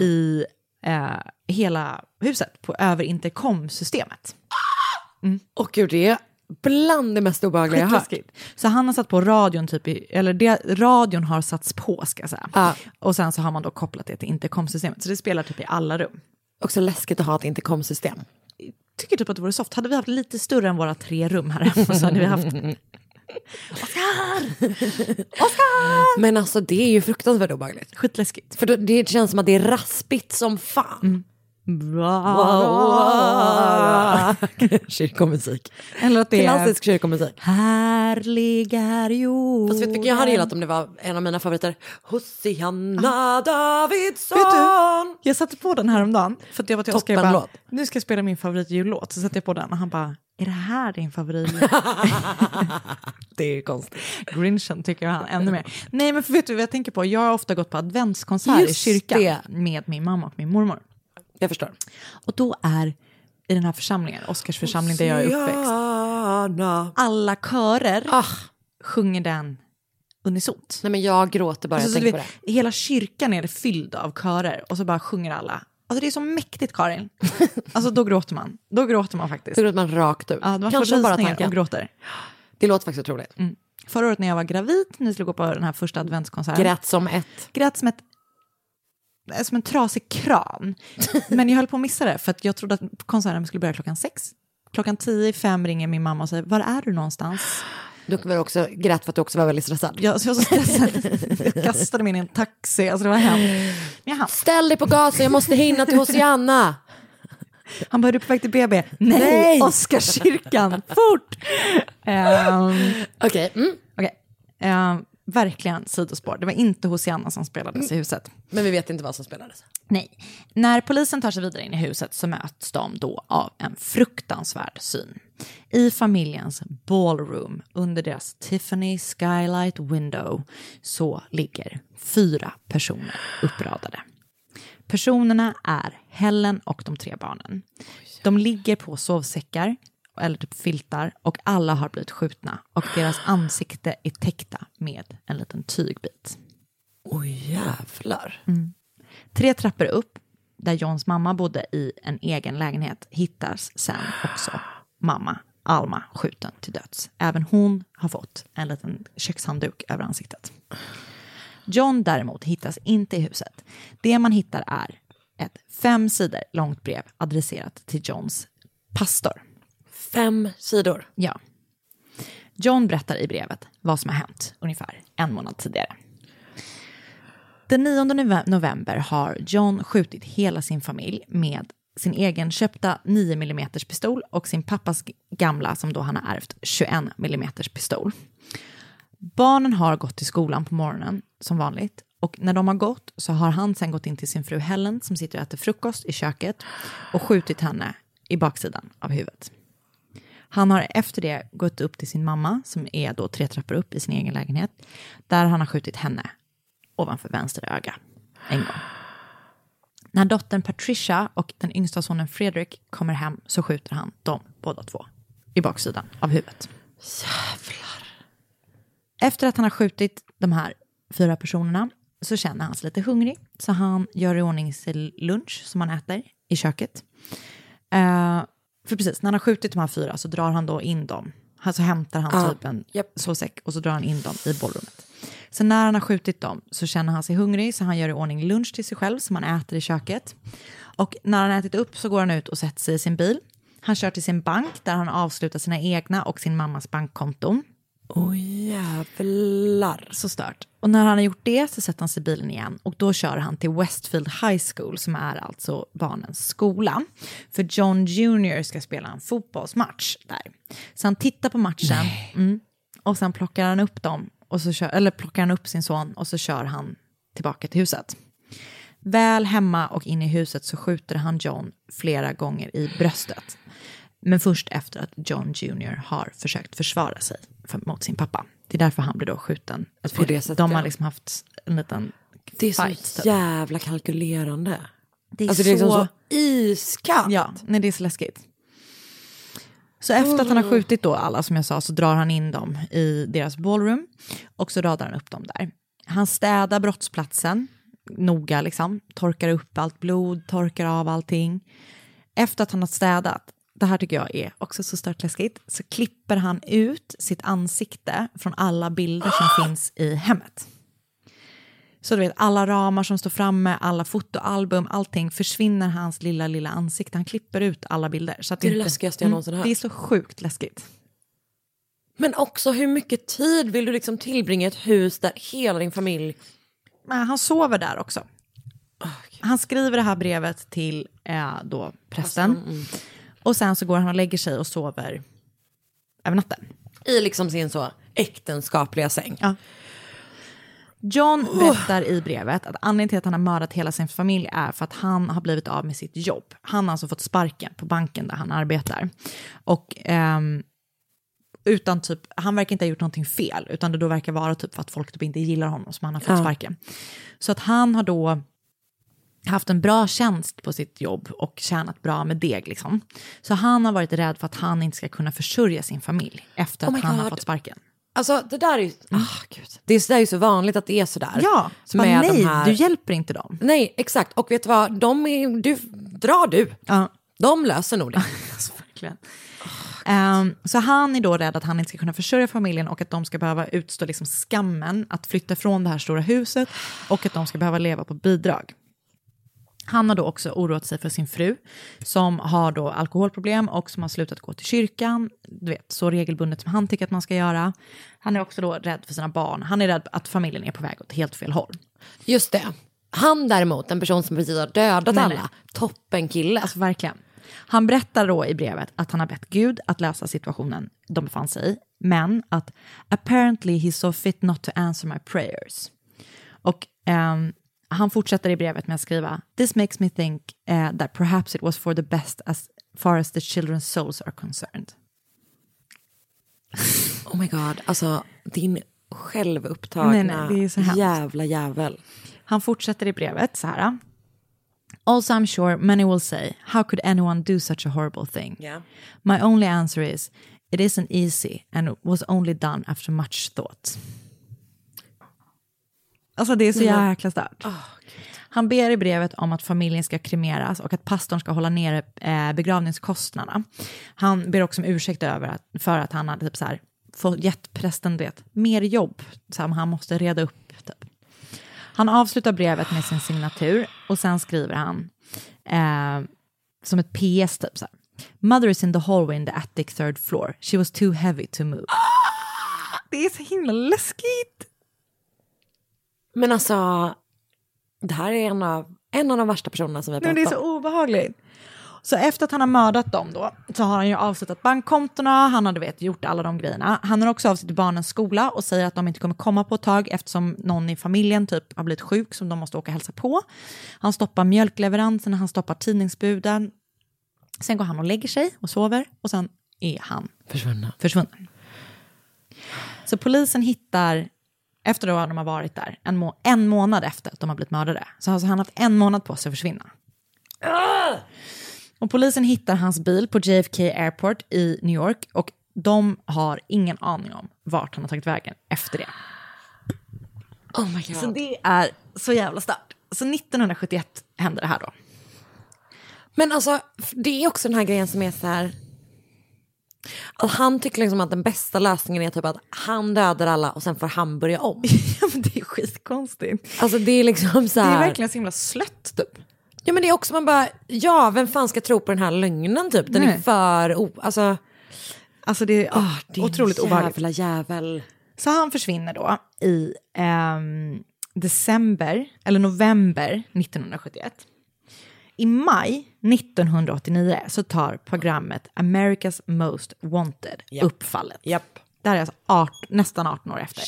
A: i eh, hela huset på över intercomsystemet.
B: Och gud, det är bland det mest obehagliga jag har hört.
A: Skitläskigt. Så han har satt på radion, typ i, eller det, radion har satts på ska jag säga.
B: Ja.
A: Och sen så har man då kopplat det till intercomsystemet, så det spelar typ i alla rum.
B: Också läskigt att ha ett intercomsystem.
A: Tycker typ att det vore soft. Hade vi haft lite större än våra tre rum här hemma så hade vi
B: (laughs)
A: haft...
B: Men alltså det är ju fruktansvärt obehagligt.
A: Skitläskigt.
B: För då- det känns som att det är raspigt som fan.
A: Mm.
B: (laughs) Kyrkomusik.
A: Eller att det är...
B: Klassisk kyrkomusik.
A: Härlig är jorden.
B: Fast vet du vilken jag hade gillat om det var en av mina favoriter? Hosianna Davidsson!
A: Vet du? Jag satte på den här om dagen för att jag var till Oskar och bara,
B: Toppenlåt.
A: nu ska jag spela min favoritjullåt. Så satte jag på den och han bara, är det här din favorit?
B: (laughs) Det är ju konstigt.
A: Grinchen tycker han ännu mer. Nej men för vet du vad jag tänker på? Jag har ofta gått på adventskonsert i
B: Just
A: kyrkan
B: det.
A: med min mamma och min mormor.
B: Jag förstår.
A: Och då är, i den här församlingen, Oskars församling där jag är uppväxt,
B: Hosianna.
A: alla körer
B: Ah,
A: sjunger den unisont.
B: nej men jag gråter bara
A: Alltså,
B: jag
A: så du
B: tänker på
A: vet,
B: det.
A: hela kyrkan är fylld av körer och så bara sjunger alla. Alltså det är så mäktigt
B: (laughs)
A: Karin. Alltså då gråter man. Då gråter man faktiskt.
B: Så gråter man rakt ut.
A: Ja, det var
B: Kanske bara
A: förrysningar
B: tanken.
A: och gråter.
B: Det låter faktiskt otroligt.
A: Förra året när jag var gravid, när vi skulle gå på den här första adventskonserten,
B: Grät som ett.
A: grät som, ett, eh, som en trasig
B: (laughs)
A: kran. Men jag höll på att missa det, för att jag trodde att konserten skulle börja klockan sex. Klockan tio i fem ringer min mamma och säger, var är du någonstans?
B: Du var också, grät för att du också var väldigt stressad.
A: Jag, så jag var
B: (laughs)
A: så stressad, jag kastade mig in i en taxi, alltså det var hemskt. Men jag hann.
B: Ställ dig på gasen, jag måste hinna till Hosianna.
A: Han bara, är du på väg till BB? Nej,
B: Nej!
A: Oscarskyrkan, (laughs) fort! Ehm,
B: Okej, mm.
A: Okej. Eh, verkligen sidospår. Det var inte Hosianna som spelades i huset.
B: men vi vet inte vad som spelades.
A: Nej. När polisen tar sig vidare in i huset så möts de då av en fruktansvärd syn. I familjens ballroom under deras Tiffany skylight window så ligger fyra personer uppradade. Personerna är Helen och de tre barnen. De ligger på sovsäckar eller typ filtar och alla har blivit skjutna och deras ansikte är täckta med en liten tygbit.
B: Oj jävlar.
A: Tre trappor upp, där Johns mamma bodde i en egen lägenhet, hittas sen också mamma, Alma, skjuten till döds. Även hon har fått en liten kökshandduk över ansiktet. John däremot hittas inte i huset. Det man hittar är ett fem sidor långt brev adresserat till Johns pastor.
B: Fem sidor.
A: Ja. John berättar i brevet vad som har hänt ungefär en månad tidigare. Den 9 nove- november har John skjutit hela sin familj med sin egen köpta 9 mm pistol och sin pappas g- gamla, som då han har ärvt, 21 mm pistol. Barnen har gått till skolan på morgonen som vanligt och när de har gått så har han sen gått in till sin fru Helen som sitter och äter frukost i köket och skjutit henne i baksidan av huvudet. Han har efter det gått upp till sin mamma, som är då tre trappor upp i sin egen lägenhet, där han har skjutit henne ovanför vänster öga en gång. När dottern Patricia och den yngsta sonen Fredrik kommer hem så skjuter han dem båda två i baksidan av huvudet. Efter att han har skjutit de här fyra personerna så känner han sig lite hungrig, så han gör i ordning sin lunch som han äter i köket. Eh, för precis, när han har skjutit de här fyra så drar han då in dem. Alltså hämtar han
B: Ja,
A: typ en
B: japp.
A: sovsäck och så drar han in dem i bollrummet. Så när han har skjutit dem så känner han sig hungrig så han gör i ordning lunch till sig själv som han äter i köket. Och när han ätit upp så går han ut och sätter sig i sin bil. Han kör till sin bank där han avslutar sina egna och sin mammas bankkonton
B: Oj jävlar.
A: så stört. Och när han har gjort det så sätter han sig i bilen igen och då kör han till Westfield High School som är alltså barnens skola. För John Junior ska spela en fotbollsmatch där. Så han tittar på matchen mm, och sen plockar han upp dem, och så kör, eller plockar han upp sin son och så kör han tillbaka till huset. Väl hemma och in i huset så skjuter han John flera gånger i bröstet. Men först efter att John Jr har försökt försvara sig för, mot sin pappa. Det är därför han blir då skjuten. På
B: det sättet,
A: De har
B: ja.
A: liksom haft en liten
B: Det är så
A: fight. typ.
B: jävla kalkylerande.
A: Det är
B: Alltså det är
A: så...
B: liksom så iskallt.
A: Ja, nej, det är så läskigt. Så efter att han har skjutit då alla som jag sa så drar han in dem i deras ballroom och så radar han upp dem där. Han städar brottsplatsen noga liksom, torkar upp allt blod, torkar av allting. Efter att han har städat, det här tycker jag är också så stört läskigt, så klipper han ut sitt ansikte från alla bilder som finns i hemmet. Så du vet, alla ramar som står framme, alla fotoalbum, allting försvinner hans lilla, lilla ansikte. Han klipper ut alla bilder. Så att
B: Det är det
A: inte- Mm,
B: läskigaste jag någonsin hört.
A: Det är så sjukt läskigt.
B: Men också hur mycket tid vill du liksom tillbringa i ett hus där hela din familj...
A: Men han sover där också. Han skriver det här brevet till eh, då prästen.
B: mm.
A: Och sen så går han och lägger sig och sover över natten.
B: I liksom sin så äktenskapliga säng.
A: Ja. John berättar i brevet att anledningen till att han har mördat hela sin familj är för att han har blivit av med sitt jobb. Han har alltså fått sparken på banken där han arbetar. Och ehm, utan typ, han verkar inte ha gjort någonting fel, utan det då verkar vara typ för att folk typ inte gillar honom som han har fått sparken. Så att han har då haft en bra tjänst på sitt jobb och tjänat bra med deg liksom. Så han har varit rädd för att han inte ska kunna försörja sin familj efter
B: Oh my
A: att han har
B: God.
A: fått sparken.
B: Alltså det där är ju, ah, gud. Det är, det är ju så vanligt att det är sådär.
A: Mm. Ja, så bara,
B: Med de
A: nej,
B: här-
A: du hjälper inte dem.
B: Nej, exakt. Och vet du vad, de är, du, dra du.
A: Ja.
B: De löser
A: (laughs)
B: nog det.
A: Alltså, verkligen. Ehm, så han är då rädd att han inte ska kunna försörja familjen och att de ska behöva utstå liksom skammen att flytta från det här stora huset och att de ska behöva leva på bidrag. Han har då också oroat sig för sin fru som har då alkoholproblem och som har slutat gå till kyrkan, du vet, så regelbundet som han tycker att man ska göra. Han är också då rädd för sina barn. Han är rädd att familjen är på väg åt helt fel håll.
B: Just det. Han däremot, en person som precis har dödat
A: Nej,
B: alla,
A: nej.
B: toppen kille.
A: Alltså verkligen. Han berättar då i brevet att han har bett Gud att lösa situationen de befann sig i, men att apparently he saw fit not to answer my prayers. Och ehm, han fortsätter i brevet med att skriva This makes me think eh, that perhaps it was for the best as far as the children's souls are concerned.
B: oh my god, alltså din självupptagna
A: Nej, nej, det är så hemskt.
B: jävla jävel.
A: Han fortsätter i brevet så här. Also I'm sure many will say, how could anyone do such a horrible thing?
B: Yeah.
A: My only answer is, it isn't easy and was only done after much thought. Alltså det är så Ah, jäkla stört. Han ber i brevet om att familjen ska kremeras och att pastorn ska hålla nere eh, begravningskostnaderna. Han ber också om ursäkt över att, för att han hade typ så här, fått gett prästen du vet, mer jobb som han måste reda upp. Typ. Han avslutar brevet med sin signatur och sen skriver han eh, som ett PS typ så här. Mother is in the hallway in the attic third floor. She was too heavy to move. (gasps) Det är så himla läskigt.
B: Men alltså, det här är en av, en av de värsta personerna som vi har
A: Nej, men det är
B: pratat
A: så
B: om.
A: obehagligt. Så efter att han har mördat dem då, så har han ju avslutat bankkontona, han har du vet gjort alla de grejerna. Han har också avslutat barnens skola och säger att de inte kommer komma på ett tag eftersom någon i familjen typ har blivit sjuk som de måste åka och hälsa på. Han stoppar mjölkleveranserna, han stoppar tidningsbuden. Sen går han och lägger sig och sover och sen är han
B: Försvunna.
A: försvunnen. Så polisen hittar, efter då de har varit där, en, må- en månad efter att de har blivit mördade, så har alltså han haft en månad på sig att försvinna. Och polisen hittar hans bil på JFK Airport i New York och de har ingen aning om vart han har tagit vägen efter det.
B: Oh my god.
A: Så det är så jävla stört. Så 1971 händer det här då.
B: Men alltså, f- det är också den här grejen som är så här... att han tycker liksom att den bästa lösningen är typ att han dödar alla och sen får han
A: (laughs)
B: börja om.
A: (laughs) Ja, men det är skitkonstigt.
B: Alltså det är liksom så
A: Det
B: här...
A: är verkligen så himla slött typ.
B: Ja men det är också man bara, ja vem fan ska tro på den här lögnen typ? Den är
A: Nej.
B: för, o- alltså
A: Alltså det är, ah, det är otroligt obehagligt.
B: jävla jävel.
A: Så han försvinner då i ehm, december, eller november 1971. I maj 1989 så tar programmet America's Most Wanted upp fallet.
B: Japp.
A: Det här är alltså art, nästan 18 år efter.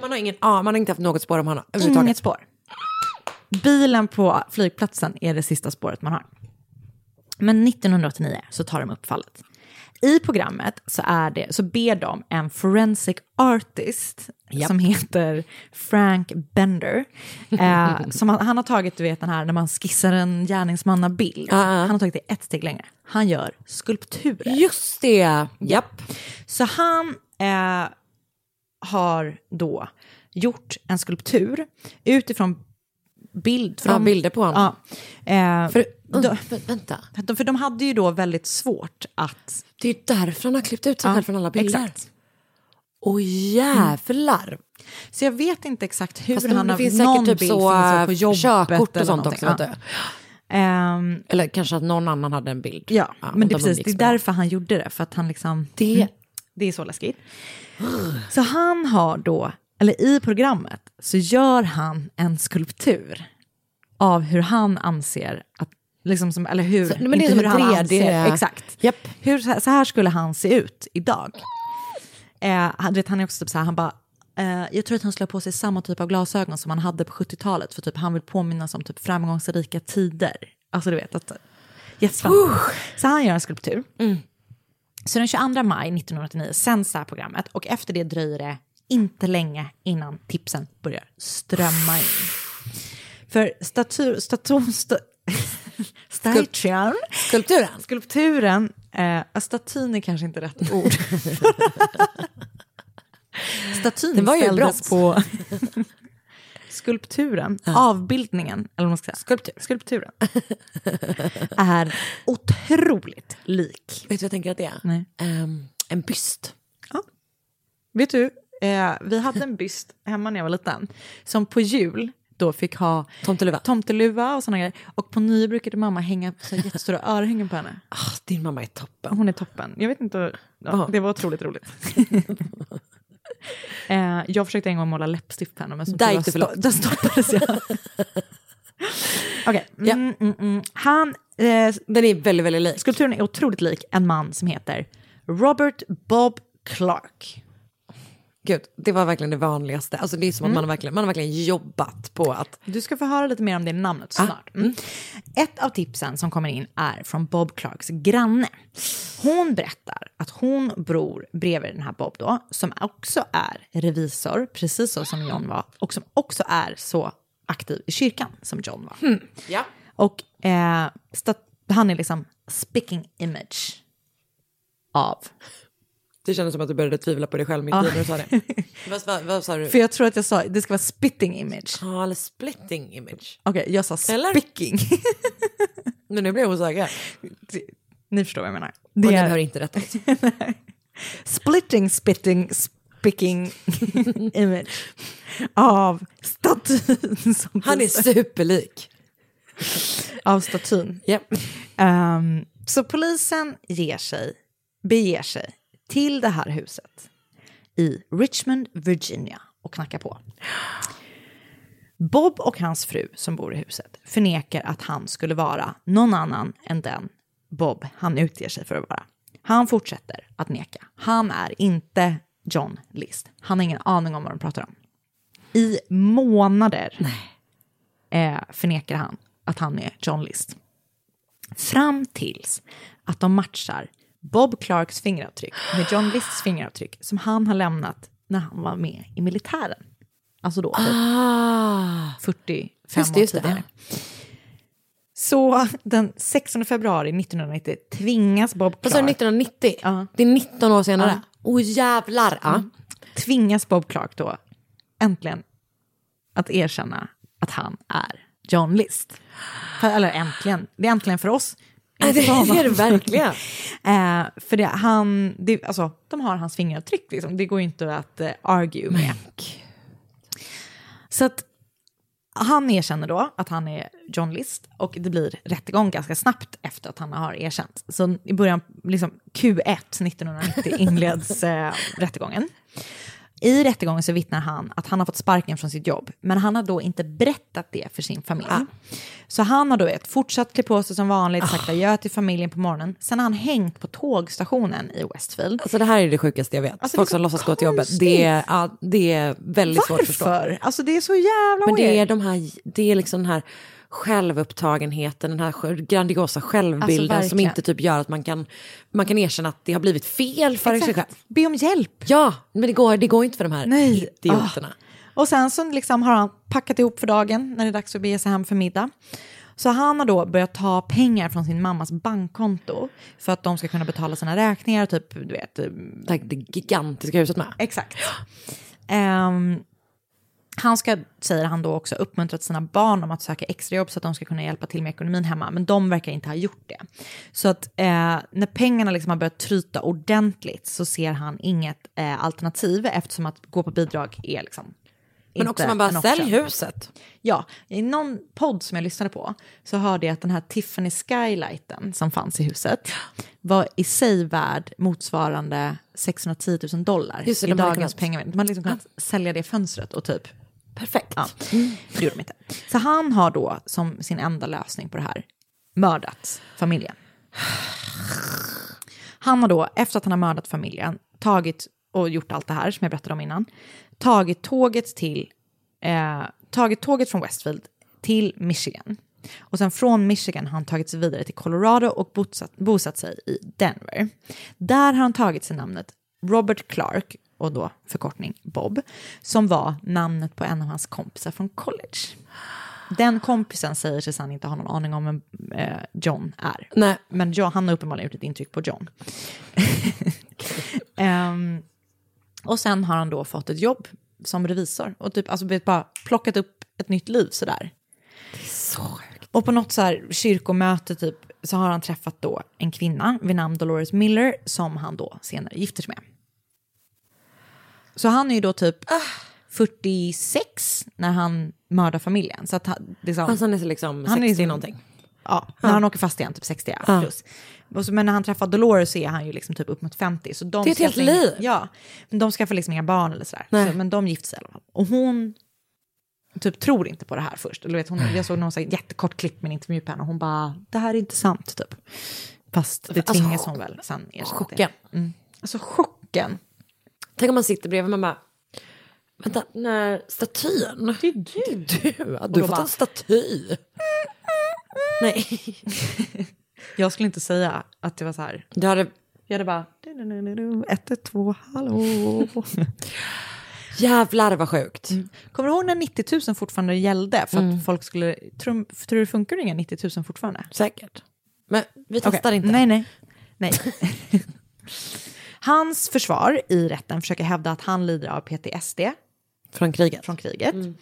B: Man har ingen, ah, man har inte haft något spår om honom överhuvudtaget.
A: Inget spår. Bilen på flygplatsen är det sista spåret man har. Men 1989 så tar de upp fallet. I programmet så, är det, så ber de en forensic artist som heter Frank Bender. Eh, som han, han har tagit, du vet den här när man skissar en gärningsmannabild. Han har tagit det ett steg längre. Han gör skulpturer.
B: Just det, japp.
A: Så han eh, har då gjort en skulptur utifrån bild från...
B: Ja, bilder på honom.
A: Ja. Eh,
B: För,
A: för,
B: mm, vä- vänta,
A: de, för de hade ju då väldigt svårt att...
B: det är därför han har klippt ut sig själv från alla bilder.
A: Exakt.
B: Åh jävlar.
A: Så jag vet inte exakt hur
B: Fast
A: han
B: det
A: har...
B: finns
A: någon
B: säkert typ
A: bild
B: så,
A: finns väl på
B: eh,
A: jobbet
B: körkort
A: eller
B: och sånt också.
A: någonting.
B: Vet du.
A: Ja. Ehm,
B: Eller kanske att någon annan hade en bild.
A: ja, men
B: och
A: det,
B: de
A: är precis,
B: umgicks
A: det är
B: med honom.
A: därför han gjorde det. För att han liksom...
B: Det-
A: Mm. det är så läskigt. Så han har då, eller i programmet, så gör han en skulptur av hur han anser att, liksom som, eller hur,
B: Så- men det är som
A: hur
B: en 3D
A: exakt.
B: Japp.
A: Hur, så här- så här skulle han se ut idag. Eh, han, du vet, han är också typ så här, han bara, eh, jag tror att han skulle ha på sig samma typ av glasögon som han hade på 70-talet, för typ han vill påminnas om typ framgångsrika tider. Alltså du vet, att, jättespännande. Så han gör en skulptur. Så den 22 maj 1989 sänds det här programmet och efter det dröjer det inte länge innan tipsen börjar strömma in. För statur, staton, sta, (laughs) statyn,
B: Skulpturen.
A: skulpturen, eh, statyn är kanske inte rätt ord. (laughs) Statyn
B: Den var ju i brons.
A: ställdes på (laughs) skulpturen, avbildningen, eller vad man ska säga. skulpturen, (laughs) är otroligt lik.
B: Vet du vad jag tänker att det är?
A: Nej.
B: Ehm, en byst.
A: Vet du, eh, vi hade en byst hemma när jag var liten som på jul då fick ha
B: Tomteluva.
A: tomteluva och såna grejer. Och på nyår brukade mamma hänga så här jättestora örhängen på henne.
B: Ah, din mamma är toppen.
A: Hon är toppen. Jag vet inte, ja, det var otroligt roligt. eh, jag försökte en gång måla läppstiftpennor men som
B: Där
A: tur var
B: gick det för
A: sto-
B: långt.
A: där stoppades jag.
B: (laughs)
A: Okej, mm, mm, mm. Han, eh,
B: Den är väldigt, väldigt lik.
A: skulpturen är otroligt lik en man som heter Robert Bob Clark.
B: Gud, det var verkligen det vanligaste. Alltså det är
A: Mm.
B: som att man har verkligen, man har verkligen jobbat på att...
A: Du ska få höra lite mer om det namnet snart. Mm. Ett av tipsen som kommer in är från Bob Clarks granne. Hon berättar att hon bor bredvid den här Bob då, som också är revisor, precis så som John var, och som också är så aktiv i kyrkan som John var.
B: Ja.
A: Och eh, stat- han är liksom speaking image av
B: Det kändes som att du började tvivla på dig själv mitt i när du sa
A: (laughs)
B: det. vad, vad, vad sa du?
A: För jag tror att jag sa, det ska vara spitting image.
B: Ja, eller splitting image.
A: Okej, jag sa
B: Eller?
A: spicking. (laughs)
B: Men nu blir jag osäker.
A: Ni förstår vad jag menar.
B: Och
A: Det
B: den
A: är
B: hör inte rätt ut.
A: splitting, spitting, spicking image av (laughs) statyn. Som (laughs)
B: Han är superlik.
A: Av statyn.
B: Ja.
A: Ehm, så polisen ger sig, beger sig till det här huset i Richmond, Virginia och knackar på. Bob och hans fru som bor i huset förnekar att han skulle vara någon annan än den Bob han utger sig för att vara. Han fortsätter att neka. Han är inte John List. Han har ingen aning om vad de pratar om. I månader eh, förnekar han att han är John List. Fram tills att de matchar Bob Clarks fingeravtryck med John Lists fingeravtryck som han har lämnat när han var med i militären. Alltså då typ 45
B: Ah. Just
A: år
B: det, just det.
A: tidigare. Så den 16 februari 1990 tvingas Bob
B: Vad sa du,
A: Clark,
B: 1990?
A: Ja.
B: Alltså,
A: Mm.
B: Det är 19 år senare. Åh jävlar. Ja.
A: tvingas Bob Clark då äntligen att erkänna att han är John List. Eller äntligen, det är äntligen för oss.
B: Ja, Det
A: Inte för honom.
B: är det verkligen.
A: Eh, för det, han, det, alltså, de har hans fingeravtryck, liksom. det går ju inte att eh, argue med. Så att han erkänner då att han är John List och det blir rättegång ganska snabbt efter att han har erkänt. Så i början, liksom Q1 1990 inleds
B: (laughs)
A: eh, rättegången. I rättegången så vittnar han att han har fått sparken från sitt jobb, men han har då inte berättat det för sin familj.
B: Ah.
A: Så han har då ett fortsatt klä på sig som vanligt,
B: Ah.
A: sagt adjö till familjen på morgonen. Sen har han hängt på tågstationen i Westfield.
B: Alltså det här är det sjukaste jag vet.
A: Alltså, det är
B: Folk
A: så
B: som låtsas gå till
A: konstigt.
B: jobbet. Det är, ja, det är väldigt svårt att förstå.
A: Varför? Alltså det är så jävla
B: Men det är,
A: weird.
B: de här, det är liksom den här självupptagenheten, den här sj- grandiosa självbilden
A: Alltså,
B: som
A: verkligen.
B: inte typ gör att man kan, man kan erkänna att det har blivit fel för sig själv.
A: Exakt. Be om hjälp.
B: Ja, men det går, det går inte för de här
A: Nej. Ah.
B: idioterna.
A: Och sen så liksom har han packat ihop för dagen när det är dags att bege sig hem för middag. Så han har då börjat ta pengar från sin mammas bankkonto för att de ska kunna betala sina räkningar och typ, du vet, eh,
B: Det, här, det gigantiska huset med.
A: exakt. Ehm, han ska, säger han då också, uppmuntrat sina barn om att söka extrajobb så att de ska kunna hjälpa till med ekonomin hemma, men de verkar inte ha gjort det. Så att eh, när pengarna liksom har börjat tryta ordentligt så ser han inget eh, alternativ eftersom att gå på bidrag är liksom
B: Men
A: inte
B: också man
A: en
B: bara,
A: option."
B: sälj huset.
A: Ja, i någon podd som jag lyssnade på så hörde jag att den här Tiffany skylighten som fanns i huset var i sig värd motsvarande 610 000 dollar
B: Just det,
A: i
B: de hade
A: dagens
B: kunnat-
A: pengar. Man hade liksom kunnat sälja det fönstret och typ... Perfekt. Ja, det gjorde de inte. Så han har då som sin enda lösning på det här mördat familjen. Han har då, efter att han har mördat familjen, tagit och gjort allt det här som jag berättade om innan, tagit tåget till, eh, tagit tåget från Westfield till Michigan. Och sen från Michigan har han tagit sig vidare till Colorado och bosatt, bosatt sig i Denver. Där har han tagit sig namnet Robert Clark, och då förkortning Bob, som var namnet på en av hans kompisar från college. Den kompisen säger sig sen inte ha någon aning om vem eh, John är.
B: Nej.
A: Men John, han har uppenbarligen gjort ett intryck på John. Ehm, Och sen har han då fått ett jobb som revisor och typ alltså vet, bara plockat upp ett nytt liv sådär. Och på något så här kyrkomöte typ så har han träffat då en kvinna vid namn Dolores Miller som han då senare gifter sig med. Så han är ju då typ 46 när han mördar familjen. Så att han, liksom,
B: Alltså han är så liksom 60
A: Han är liksom-
B: någonting.
A: Ja, när han åker fast igen, typ 60 ja, plus. Och så, men när han träffar Dolores så är han ju liksom typ upp mot 50. Så de
B: Det är ett helt
A: skaffar inga-
B: liv.
A: Ja, men de skaffar liksom inga barn eller sådär.
B: Nej.
A: Så, men de gifter sig i alla fall. Och hon typ tror inte på det här först. Eller vet, hon, jag såg någon så här jättekort klipp med en intervju på henne och hon bara, det här är inte sant typ. Fast det
B: Alltså,
A: tvingas hon väl sen erkänna.
B: chocken.
A: det. Mm. Alltså chocken.
B: Tänk om man sitter bredvid och man bara, vänta, den här statyn. Det är du. du. Ja, Du
A: då
B: har fått
A: bara-
B: en staty. Nej,
A: Jag skulle inte säga att det var så här.
B: du hade
A: Jag hade bara, ett, ett, två, hallå.
B: jävlar vad sjukt.
A: Kommer du ihåg när 90 000 fortfarande gällde? För att
B: Mm.
A: folk skulle, tror, du- tror du funkar inga 90 000 fortfarande?
B: Säkert. Men vi testar
A: Okej.
B: inte.
A: Nej, nej. nej. (laughs) Hans försvar i rätten försöker hävda att han lider av PTSD
B: Från kriget.
A: från kriget.
B: Mm.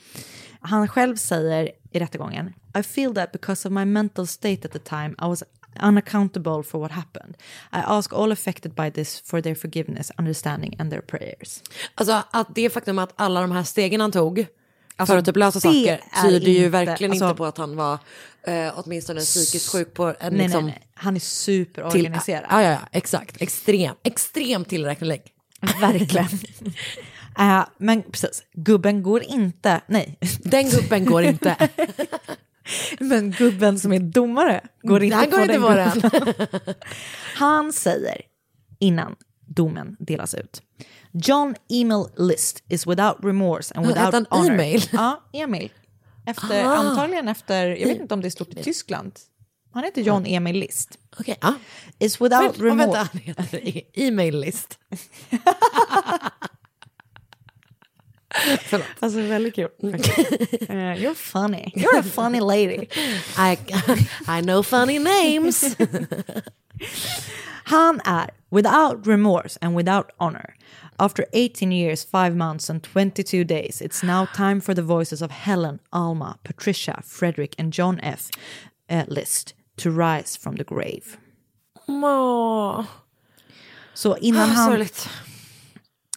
A: Han själv säger i rättegången, I feel that because of my mental state at the time I was unaccountable for what happened. I ask all affected by this for their forgiveness, understanding and their prayers.
B: Alltså att det faktum att alla de här stegen han tog för att typ lösa
A: Alltså, det
B: saker
A: är
B: tyder ju
A: inte-
B: verkligen
A: alltså-
B: inte på att han var eh, åtminstone psykiskt sjuk på en
A: Nej,
B: liksom...
A: nej, nej. Han är superorganiserad.
B: Ja, ja, ja, exakt. Extrem, extrem tillräcklig.
A: Verkligen.
B: (laughs)
A: Eh, men precis, gubben går inte, nej, (laughs)
B: Den gubben går inte. (laughs)
A: men gubben som är domare går inte
B: Han går
A: på
B: inte
A: den
B: på
A: gubben.
B: den.
A: Han säger innan domen delas ut. John Emil List is without remorse and
B: Ja,
A: without
B: hette han
A: honor.
B: Emil?
A: (laughs) Ja, Emil. Efter,
B: Ah.
A: antagligen efter, jag vet inte om det är stort i Tyskland. Han heter John Emil List.
B: (laughs) Okej, ja.
A: Is without
B: Och vänta,
A: remorse.
B: han heter e- e-mail-list. Förlåt.
A: Alltså väldigt
B: (laughs)
A: kul. Eh, you're funny. You're a funny
B: (laughs)
A: lady.
B: I, (laughs) I know funny names.
A: Han är without remorse and without honor. After 18 years, 5 months and 22 days, it's now time for the voices of Helen, Alma, Patricia, Frederick and John F. eh, List to rise from the grave.
B: (laughs) Åh, Ah,
A: Så innan han...
B: sorgligt.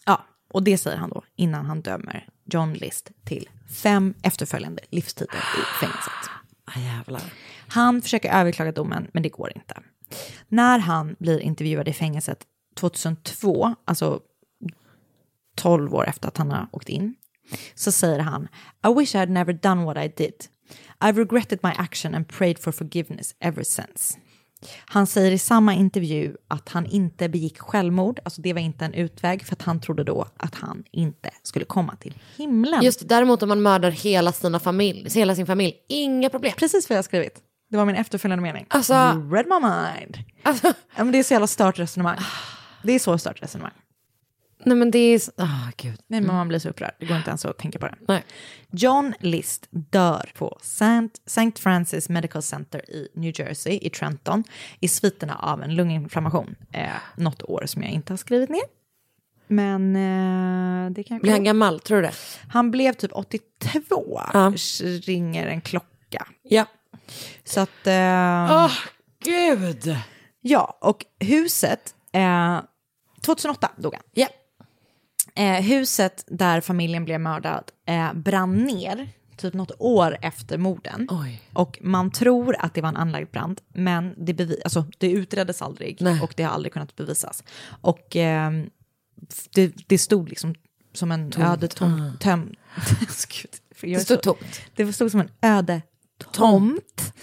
A: Ja, och det säger han då innan han dömer John List till fem efterföljande livstider i fängelset.
B: Ah, jävlar.
A: Han försöker överklaga domen, men det går inte. När han blir intervjuad i fängelset 2002, alltså 12 år efter att han har åkt in, så säger han I wish I had never done what I did. I've regretted my action and prayed for forgiveness ever since. Han säger i samma intervju att han inte begick självmord, alltså det var inte en utväg, för att han trodde då att han inte skulle komma till himlen.
B: Just det, däremot om man mördar hela, sina familj, hela sin familj, inga problem.
A: precis vad jag har skrivit. Det var min efterföljande mening.
B: Alltså-
A: you read my mind.
B: Alltså,
A: Ja, men det är så jävla stört resonemang. Det är så stört resonemang.
B: nej men det är... s- Ah, gud.
A: Nej, men man blir så upprörd. Det går inte ens att tänka på det.
B: Nej.
A: John List dör på St. St. Francis Medical Center i New Jersey, i Trenton, i sviterna av en lunginflammation. Eh, något år som jag inte har skrivit ner. Men eh, det kan
B: Blir han
A: jag
B: gammal, tror du det?
A: Han blev typ 82, ringer en klocka.
B: Ja.
A: Så att... Eh,
B: Gud!
A: Ja, och huset... Eh, 2008 dog han.
B: Ja.
A: Eh, huset där familjen blev mördad eh, brann ner typ något år efter morden.
B: Oj.
A: Och man tror att det var en anlagd brand, men det, bevi- alltså, det utreddes aldrig
B: Nej.
A: och det har aldrig kunnat bevisas. Och eh, det, det stod liksom som en öde tom... Töm- (laughs) Alltså, Gud, jag är
B: Ah. Det stod
A: så-
B: tomt.
A: det stod som en öde tomt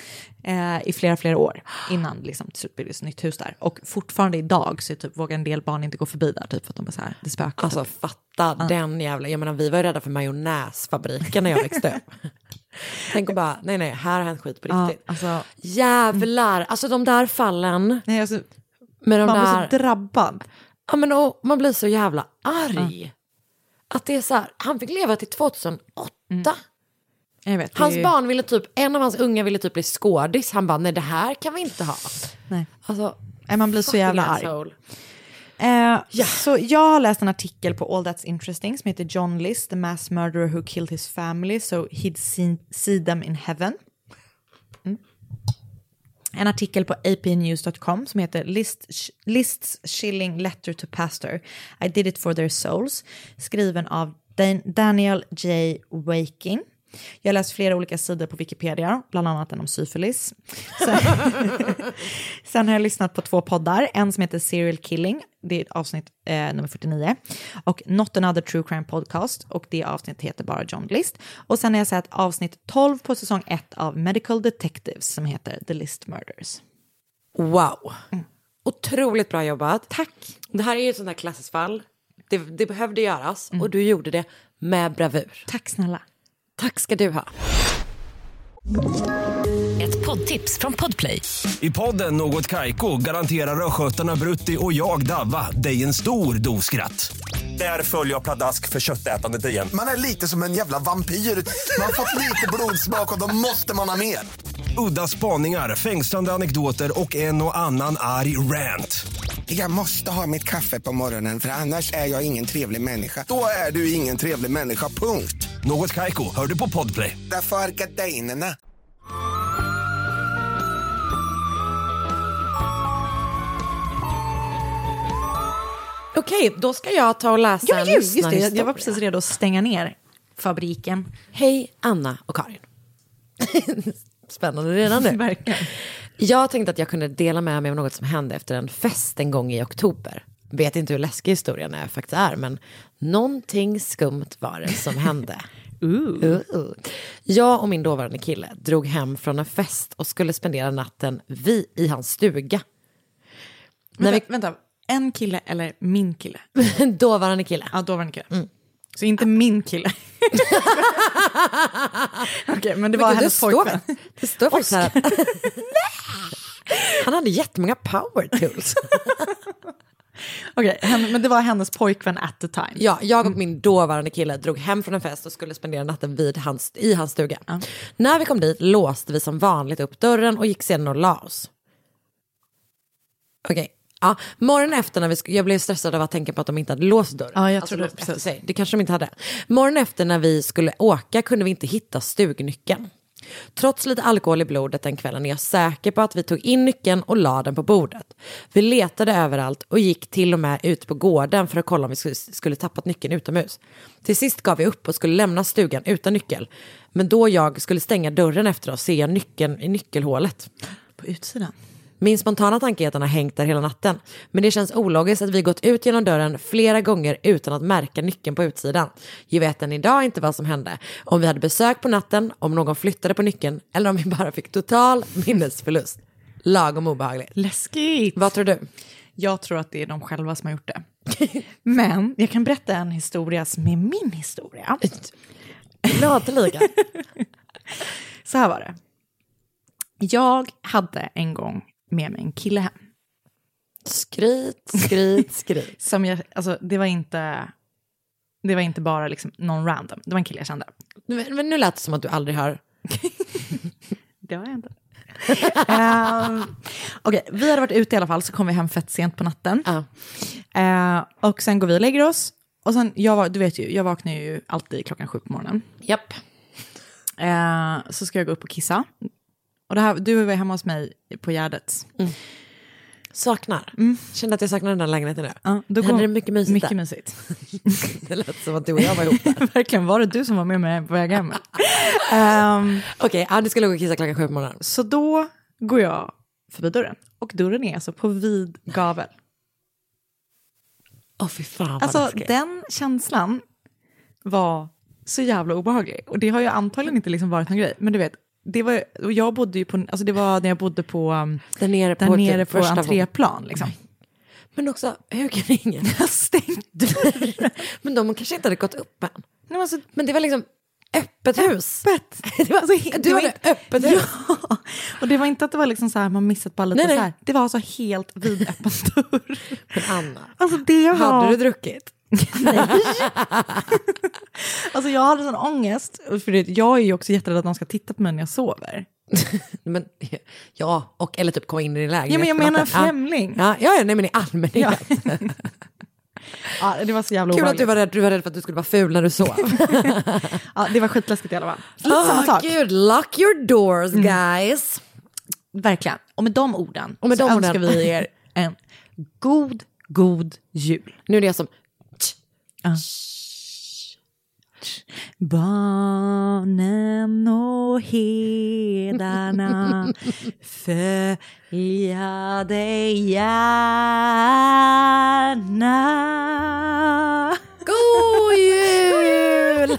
A: eh, i flera, flera år innan liksom, till slut byggdes ett nytt hus där. Och fortfarande idag så typ, vågar en del barn inte gå förbi där, typ, för att de är så här, det spökar.
B: Alltså fatta den jävla... Jag menar vi var ju rädda för majonnäsfabriken när jag växte upp. (laughs) Tänk och bara, nej nej, här har hänt skit på
A: Ja,
B: riktigt.
A: alltså,
B: Jävlar, alltså de där fallen
A: nej, alltså,
B: med de
A: man
B: där...
A: blir så drabbad.
B: Ja, men och man blir så jävla arg. Att det är så här, han fick leva till 2008.
A: Jag vet, det Mm. är
B: Hans
A: ju-
B: barn ville typ, en av hans unga ville typ bli skådis. Han bara, nej det här kan vi inte ha.
A: Nej. alltså.
B: Alltså,
A: Nej, man blir så
B: fucking
A: jävla arg.
B: asshole.
A: Eh, Så jag har läst en artikel på All That's Interesting som heter John List, the mass murderer who killed his family so he'd seen, see them in heaven. Mm. en artikel på apnews.com som heter List, Lists Shilling Letter to Pastor. I did it for their souls. Skriven av Dan- Daniel J. Waking. Jag har läst flera olika sidor på Wikipedia, bland annat den om syfilis. Sen, sen har jag lyssnat på två poddar, en som heter Serial Killing, det är avsnitt eh, nummer 49, och Not Another True Crime Podcast, och det avsnittet heter bara John List. Och sen har jag sett avsnitt 12 på säsong 1 av Medical Detectives som heter The List Murders.
B: Wow.
A: Mm.
B: Otroligt bra jobbat. Tack. Det här är ju ett sånt här klassiskt fall. Det, det behövde göras
A: Mm.
B: och du gjorde det med bravur.
A: Tack snälla.
B: Tack ska du ha.
C: Ett poddtips från Podplay.
D: I podden Något Kaiko garanterar östgötarna Brutti och jag, Davva, dig en stor dos skratt. Där följer jag pladask för köttätandet igen.
E: Man är lite som en jävla vampyr. Man har fått lite blodsmak och då måste man ha mer.
D: Udda spaningar, fängslande anekdoter och en och annan arg rant.
E: Jag måste ha mitt kaffe på morgonen för annars är jag ingen trevlig människa. Då är du ingen trevlig människa, punkt.
D: Något Kaiko, hör du på Podplay.
E: Därför är gardinerna.
B: Okej, då ska jag ta och läsa
A: Ja, men
B: en
A: gud, just det. Jag, jag var
B: lyssnarhistoria.
A: precis redo att stänga ner fabriken.
B: Hej Anna och Karin. (laughs) Spännande redan nu.
A: Verkligen.
B: Jag tänkte att jag kunde dela med mig av något som hände efter en fest en gång i oktober. Vet inte hur läskig historien är faktiskt är, men någonting skumt var det som hände. Ooh. Jag och min dåvarande kille drog hem från en fest och skulle spendera natten vi i hans stuga. (laughs) När
A: Vänta, vänta, en kille eller min kille?
B: vi, dåvarande kille.
A: Ja, då var det en kille. Så inte min kille. (laughs) Okej, men det var
B: Men gud,
A: hennes
B: står,
A: pojkvän.
B: det står faktiskt så här. Han hade jättemånga power tools.
A: Okej, hen- men det var hennes pojkvän at the time.
B: Ja, jag och min dåvarande kille drog hem från en fest och skulle spendera natten vid hans, i hans stuga. När vi kom dit låste vi som vanligt upp dörren och gick sedan och la oss. Okej. Ja, morgonen efter när vi sk- jag blev stressad av att tänka på att de inte hade låst dörren. Alltså,
A: Ja, jag trodde-
B: låst efter
A: precis.
B: sig. Det kanske de inte hade. Morgonen efter när vi skulle åka kunde vi inte hitta stugnyckeln. Trots lite alkohol i blodet den kvällen är jag säker på att vi tog in nyckeln och la den på bordet. Vi letade överallt och gick till och med ut på gården för att kolla om vi skulle- skulle tappat nyckeln utomhus. Till sist gav vi upp och skulle lämna stugan utan nyckel. Men då jag skulle stänga dörren efter oss ser jag nyckeln i nyckelhålet.
A: På utsidan.
B: Min spontana tanke är att den har hängt där hela natten. Men det känns ologiskt att vi gått ut genom dörren flera gånger utan att märka nyckeln på utsidan. Jag vet än idag inte vad som hände. Om vi hade besök på natten, om någon flyttade på nyckeln eller om vi bara fick total minnesförlust. Lagom obehagligt.
A: Läskigt.
B: Vad tror du?
A: Jag tror att det är de själva som har gjort (laughs) det. Men jag kan berätta en historia som är min historia.
B: Gladeliga.
A: Så här var det. Jag hade en gång med mig en kille hem.
B: Skryt, skryt, skryt.
A: Som jag, alltså, det, var inte, det var inte bara liksom någon random, det var en kille jag kände.
B: Men men nu lät det som att du aldrig har...
A: Det var jag inte. Ehm, Okej, vi hade varit ute i alla fall, så kom vi hem fett sent på natten.
B: Ja.
A: Ehm, och sen går vi och lägger oss. Och sen, jag, var- du vet ju, jag vaknar ju alltid klockan sju på morgonen.
B: Japp.
A: Eh, så ska jag gå upp och kissa. Och det här, du var hemma hos mig på Gärdet.
B: Saknar. Kände att jag saknar den där lägenheten nu.
A: Ja, Mm, då
B: det hade
A: går-
B: det mycket mysigt
A: Mycket
B: där.
A: mysigt.
B: (laughs)
A: (laughs)
B: Det lät som att du och jag var ihop. (laughs)
A: Verkligen, var det du som var med mig på väg hem? Ehm,
B: Okej, ja, du skulle gå och kissa klockan sju på morgonen.
A: så då går jag förbi dörren. Och dörren är alltså på vid gavel.
B: Åh fy fan vad
A: Alltså
B: läskigt.
A: den känslan var så jävla obehaglig. Och det har ju antagligen inte liksom varit någon grej. Men du vet, det var, ju- och jag bodde ju på, alltså det var när jag bodde på, um,
B: Där nere på, typ
A: där nere på
B: första
A: entréplan liksom.
B: Men också, hur kan ingen...
A: Stängt
B: dörren. Men de kanske inte hade gått upp än.
A: Nej, men alltså,
B: Men det var liksom öppet hus.
A: öppet.
B: (laughs)
A: Det var, alltså, he-
B: Du hade öppet hus.
A: Ja, och det var inte att det var liksom så här, man missat bara lite
B: Nej, nej.
A: så här. Det var alltså helt vidöppen (laughs) dörr.
B: Men Anna,
A: Alltså det var...
B: hade du druckit?
A: Alltså jag hade sån ångest, för det, jag är ju också jätterädd att någon ska titta på mig när jag sover.
B: men, ja, och eller typ komma in i din lägenhet.
A: Ja, men jag
B: på
A: menar
B: natten. Ja.
A: främling.
B: Ja, ja, ja, nej men i allmänhet.
A: Ja, det var så jävla
B: (laughs) Kul att
A: obehagligt.
B: du var rädd, du var rädd för att du skulle vara ful när du (laughs) sov.
A: ja, det var skitläskigt i alla fall. Lite samma
B: Ah,
A: sak.
B: Gud, lock your doors guys.
A: Verkligen. Och med de orden
B: med
A: så
B: de orden.
A: önskar vi er en god, god jul.
B: Nu är det jag som,
A: Barnen och (laughs) hedarna följa dig gärna.
B: god jul!